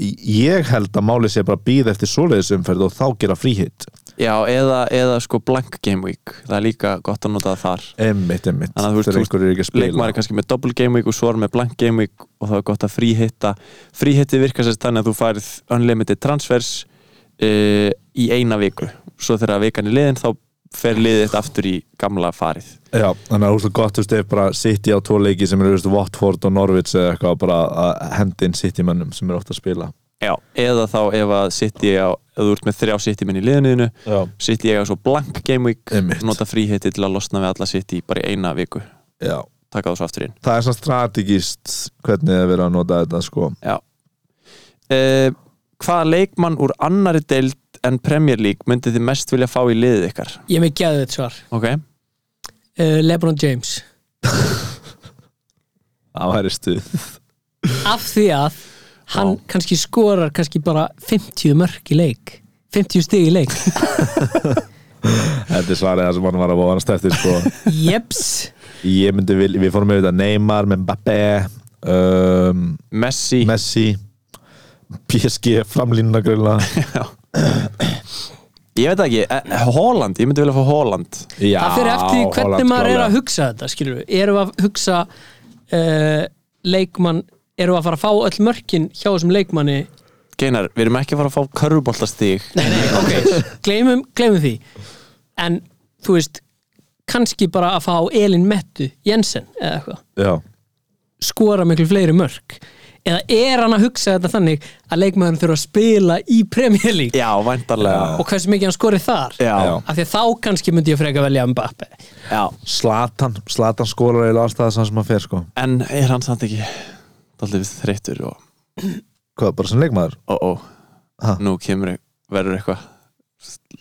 C: ég held að máli sé bara að býða eftir svoleiðisumferð og þá gera fríhitt
B: já eða, eða sko blank game week það er líka gott að nota það þar
C: emmitt, emmitt,
B: Þannig að þú veist,
C: þegar
B: þú-
C: einhverju er ekki að spila
B: leikmaður er kannski með double game week og svo er með blank game week og það er gott að fríhitta fríhitti virkar sérst þannig að þú færið unlimited transfers uh, í eina viku svo þegar vikan er liðin þá fer liðið þitt aftur í gamla farið
C: Já, þannig að þú veist gott, þú veist, ef bara City á tvo leiki sem eru, þú veist, Watford og Norwich eða eitthvað, bara að henda inn City mönnum sem eru ofta að spila
B: Já, eða þá ef að sitti á, ef þú ert með þrjá sitti minn í liðinu
C: Já,
B: sitti ég á svo blank game week
C: Einmitt.
B: nota fríhitti til að losna við alla sitti bara í eina viku,
C: já
B: taka þú svo aftur inn
C: Það er svona strategist hvernig það er verið að nota þetta, sko
B: Já uh, Hvaða leikmann úr annari deild en Premier League myndið þið mest vilja fá í liðið ykkar?
D: ég er með geðið þetta svar
B: Ok,
D: uh, Lebron James
C: Það væri stuð
D: af því að hann kannski skorar kannski bara 50 mörk í leik 50 stig í leik
C: Þetta er svarið það sem hann var að vonast eftir sko.
D: Jeps
C: Ég myndi vil, við fórum með þetta Neymar, Mbappé um,
B: Messi
C: Messi PSG, framlínuna grilla
B: Ég veit ekki, eh, Holland, ég myndi vilja fá Holland
C: Já,
D: Það fyrir eftir því hvernig
C: Holland,
D: maður er að
C: klálega.
D: hugsa þetta skilur við, erum við að hugsa uh, leikmann erum við að fara að fá öll mörkin hjá þessum leikmanni
B: Geinar, við erum ekki að fara að fá körfuboltastíg
D: gleymum, gleymum því en þú veist kannski bara að fá Elin Mettu Jensen eða eitthvað,
C: Já,
D: skora miklu fleiri mörk eða er hann að hugsa þetta þannig að leikmann þurfa að spila í Premier League
B: Já, væntarlega
D: og hversu mikið hann skorið þar
B: Já,
C: Já.
D: af því að þá kannski myndi ég freka velja Mbappe
B: já
C: Slatan, Slatan skólar eða allstað það sem að fer sko
B: En er hann samt ekki Daldið við þreyttur og
C: Hvað, bara sem leikmaður?
B: ó, ó,
C: Ha?
B: nú kemur e- verður eitthvað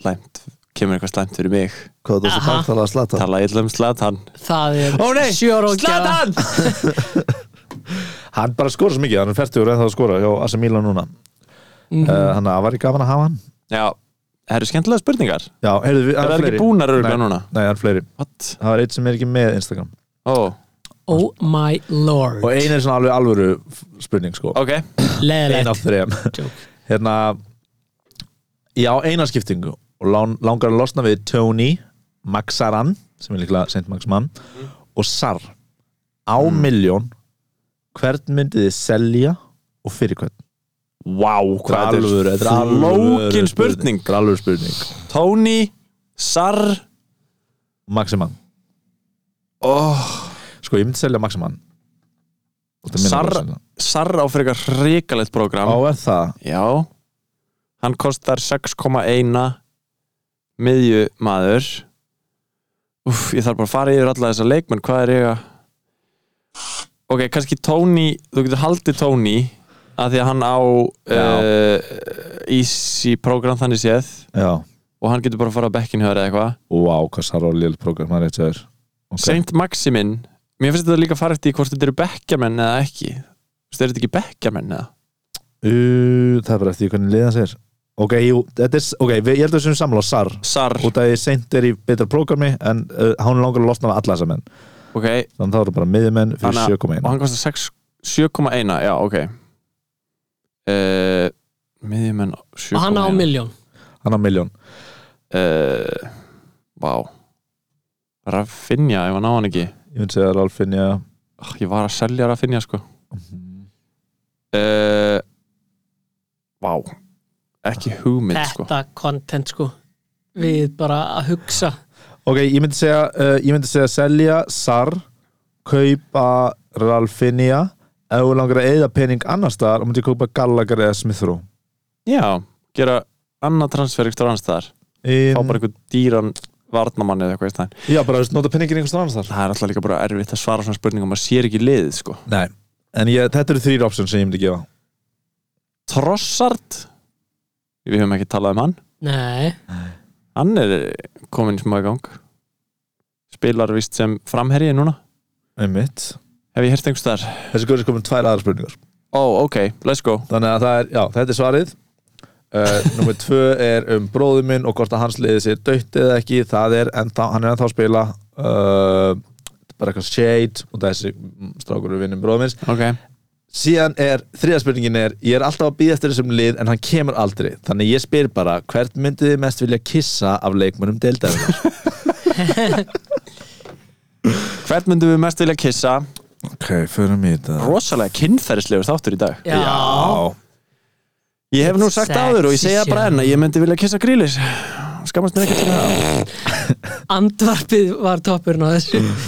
B: slæmt kemur eitthvað slæmt fyrir mig
C: Hvað þú svo
D: Aha.
C: bántalega Slatan?
B: tala illa um Zlatan
D: það er
B: Ó nei,
D: sjóra og gæða
B: Zlatan!
C: Hann bara skóra svo mikið, hann er færtur eða að skóra hjá AC Milan núna
D: Mhm.
C: mm Þannig að það var í gaman að hafa hann
B: Já, það eru skemmtilega spurningar
C: Já, heyrðu, við-
B: Það
C: hann
B: eru
C: fleiri.
B: ekki búnar örgulega
C: Nei.
B: núna
C: Nei, hann er fleiri
B: What?
C: Það var eitt sem er ekki með Instagram
B: Ó,
D: oh my lord
C: Og einu er svona alveg alvöru f- spurning sko
B: ok
C: Ein
D: leðilegt
C: af þrejum
D: Joke.
C: Hérna Já, eina skiptingu Og lán, langar að losna við Tony Maxaran Sem er líklega Saint Maxman Og Sar Á milljón Hvern myndið þið selja Og fyrir hvern
B: Vá,
C: Þetta
B: hvað
C: er alvöru- þetta er alvöru
B: flókin spurning
C: Þetta er alvöru spurning
B: Tony, Sarr
C: Maximan
B: oh,
C: Sko, ég myndi selja Maximan Þetta er minna
B: Sar-
C: bara að selja.
B: Sarr á fyrir eitthvað hrikalegt
C: Á,
B: program
C: er það
B: Já Hann kostar 6,1 miðjumaður Úf, ég þarf bara að fara yfir alla þessa leikmenn Hvað er ég að Ok, kannski Tony Þú getur haldið Tony að því að hann á uh, Easy program þannig séð
C: Já
B: og hann getur bara að fara að bekkinu eða eitthvað
C: Vá, hvað Sar á lél program Það er eitt sér Ok.
B: Saint Maximin Mér finnst þetta líka að fara eftir í hvort þetta eru bekkjamenn eða ekki Þú veist, eru þetta ekki bekkjamenn eða?
C: Uh, það er bara eftir því hvernig liðan sér Ok, jú, þetta er, ok, við, ég held að við sem samla á SAR
B: Sarr,
C: út að ég seint er í betra prógrami en uh, hann langar að losna af alla þessa menn
B: ok
C: þannig það eru bara miðjumenn fyrir
B: Þannig að-
C: 7,1
B: og hann kostar 6 7,1 já ok uh, miðjumenn 7,1
D: og hann á miljón
C: hann á miljón
B: uh, vá Rafinha ef hann á hann ekki
C: ég myndi segja að Ralf Finja
B: oh, ég var að selja Rafinha sko uh, vá ekki hugmynd sko
D: þetta content sko við bara að hugsa
C: ok, ég myndi segja, uh, ég myndi segja selja SAR kaupa Ralf Finja ef þú langar að eyða pening annars staðar og myndi ég kaupa Gallagher eða Smithru
B: já gera annað transfer ykkur annars staðar
C: In,
B: þá bara einhver dýran varnamann eða eitthvað í staðinn.
C: já, bara þú veist, nota peningin einhvers staðar annars staðar
B: það er alltaf líka bara erfitt að svara svona spurningum maður sér ekki liðið sko
C: nei, en ég, þetta eru þrýr option sem ég myndi gefa
B: Trossard við höfum ekki talað um hann
D: nei,
B: hann er komin í smá í gang spilar vist sem framherji núna
C: einmitt
B: hef ég hert einhvers þar
C: Þessi góður er komin tvær aðra spurningar
B: ó ok, let's go
C: Þannig að það er, já, þetta er svarið uh, Númer tvö er um bróður minn og hvort að hans liðið sér dött eða ekki það er, ennþá, hann er ennþá að spila uh, bara eitthvað shade og þessi mm, strákur er vinnum bróður minns
B: ok,
C: Síðan er, þriða spurningin er ég er alltaf að býða eftir þessum lið en hann kemur aldrei þannig ég spyr bara, hvert myndið þið mest vilja kissa af leikmönnum deildarinnar?
B: hvern myndum við mest vilja kissa
C: ok, förum í þetta
B: rosalega kynferðislegur þáttur í dag
D: já,
B: ég hef nú sagt
D: Sexy
B: áður og ég segja bara
D: shit.
B: enn að ég myndi vilja kissa grílis skammast mér ekki til það
D: andvarpið var toppurinn á þessu
C: Mm.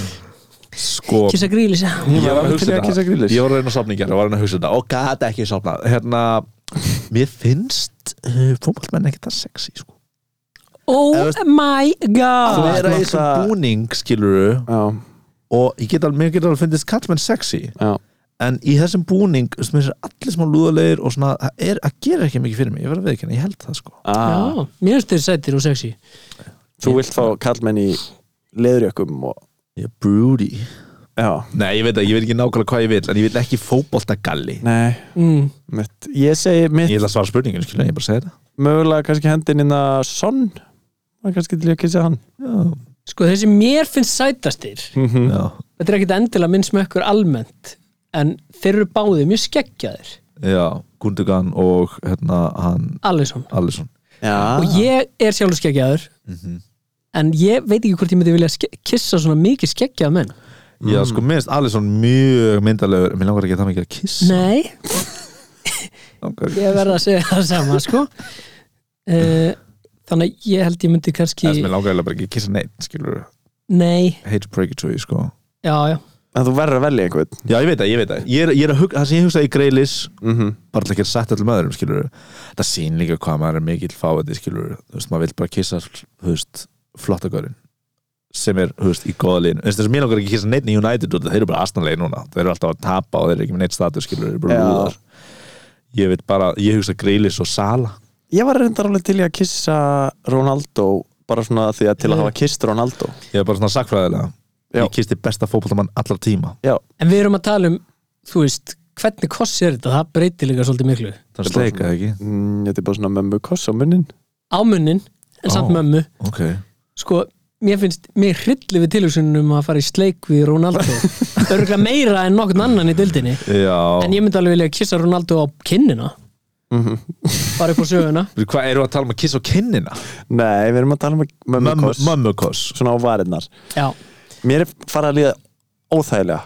C: Sko,
D: kissa grílis
C: Ég var
B: Til
C: að hugsa
B: í að
C: þetta.
B: kyssa Grýlis.
C: Ég var að reyna að sopna í gerð og var að reyna að hugsa þetta og gata ekki sopna hérna, mér finnst uh, fótballmenn ekki það sexy sko.
D: oh my
C: þú
D: god
C: er að
B: náttúrulega-
C: ég sem búning skiluru
B: já,
C: og ég get alveg, mér get alveg finnist kallmenn sexy
B: já,
C: en í þessum búning, þú veist, mér finnst allir smá lúðalegir og svona, það er, það gerir ekki mikið fyrir mig ég verð að veikina, ég held það sko
B: ah,
D: já, mér finnst þeir sættir og sexy
B: þú vilt fá kallmenn í leðurjökum og
C: ég er broody
B: já,
C: nei, ég veit ekki, ég veit ekki nákvæmlega hvað ég vil en ég vil ekki fótballtagalli
B: nei,
D: mm.
B: mitt ég segi mitt
C: ég ætla að svara spurningin, skilur, ég bara segi þetta
B: mögulega kannski hendin inn að sonn maður kannski til í að kissa hann
D: sko þessi mér finnst sætastir
C: já,
D: þetta er ekkit endilega minn smökkur almennt en þeir eru báðið mjög skeggjaðir
C: já, Gundogan og hérna hann
D: Alisson
C: Alisson
B: Já,
C: Ah.
D: og ég er sjálfur skeggjaður
C: Mhm.
D: en ég veit ekki hvort ég myndi vilja ske- kissa svona mikið skeggjað menn
C: já, sko, minnst Alisson mjög myndalegur mér langar ekki það mikið að kissa
D: nei,
C: Langar ekki.
D: ég verða að segja það sama sko Eh, þannig að ég held ég myndi kannski
C: þess mér langar eiginlega bara ekki að kissa neitt skilur,
D: nei,
C: hate to break it to you sko
D: já já
B: en þú verður að velja einhvern
C: já, ég veit það, ég veit það ég er, ég er að hugsa, það sem ég hugsa í greilis
B: mm
C: bara til ekki að setja allir maðurum, skilur þetta sín líka hvað maður er mikill fáið skilur, þú veist, maður vil bara kissa þú veist, flottagörinn sem er, þú veist, í góða liðin þú veist, þess að mér langar ekki að kissa neitt í United út af því þeir eru bara astanlega núna, þeir eru alltaf að tapa og þeir eru ekki með neitt status, skilur, þeir eru bara
B: Já.
C: lúðar ég veit bara, ég hugsa greilis og sala
B: Ég var reyndar alveg til í að kissa Ronaldo bara svona því að til að
D: Já.
B: hafa kist Ronaldo
C: ég er bara svona sakfræðilega,
B: Já.
C: ég kisti besta fótboltamann allar tíma,
B: Já,
D: En við erum að tala um, þú veist, hvernig kossi er þetta, það breytir líka svolítið miklu.
C: það er sleika, ekki
B: mm, þetta er bara svona mömmu koss á munnin
D: Ámunnin, en samt
C: Ó.
D: mömmu,
C: ok,
D: sko, mér finnst, mér hryllir við tilhugsunum um að fara í sleik við Ronaldo. Örgulega meira en nokkurn annan í dildinni. En
C: já
D: ég myndi alveg vilja kissa Ronaldo á kinnina,
C: Mhm.
D: fara upp á söguna.
C: hvað eru að tala um að kissa á kinnina?
B: Nei, við erum að tala um mömmu
C: Mömmu-
B: koss
C: mömmukoss
B: Svona á varinnar
D: Já,
B: Mér er farið að líða óþægilega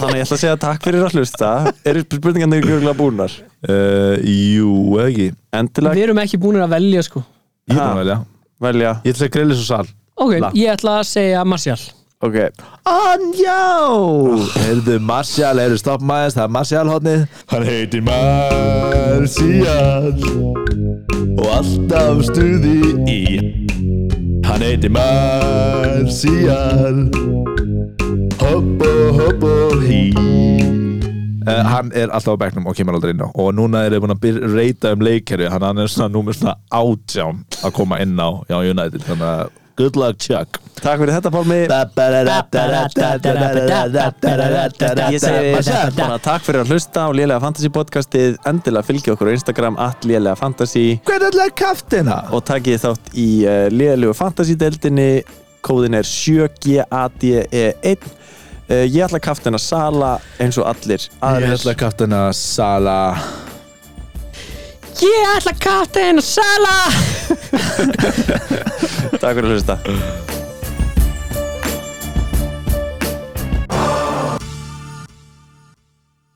B: Þannig að ég ætla að segja takk fyrir að hlusta Eru spurningarnir gjögulega búnar
C: uh, jú, eða ekki
B: Endilega
D: við erum ekki búin að velja, sko.
C: Ég er
B: Ha.
C: búin að velja
B: velja
C: Ég ætla að grilla svo sal
D: Ok,
C: La.
D: ég ætla að segja Marcial.
B: Ok,
C: Anjá Heyrðu Marcial, heyrðu stopp maður Það er Marcial hotnið Hann heitir Marcial Og alltaf stuði í Hann heitir Marcial Hoppo, hoppo, hí Uh, hann er alltaf á bekknum og kemur aldrei inn á og núna er þið búin að byr- reyta um leikherju hann hann er svona númer svona átján að koma inn á hjá United þannig að good luck Chuck
B: takk fyrir þetta Pálmi Ég segi bara hérna, takk fyrir að hlusta á Lélega Fantasy podcastið Endilega fylgi okkur á Instagram at Lélega Fantasy
C: Hvernig ætlaði kaftina?
B: og takið þátt í uh, Lélegu Fantasy deildinni Kóðin er 7GADE1 uh, E Ég ætla að kaftina Sala eins og allir
C: Ég
B: aðrir.
C: ætlaði kaftina Sala
D: Ég ætla að katta henn og sala!
B: Takk fyrir að hlusta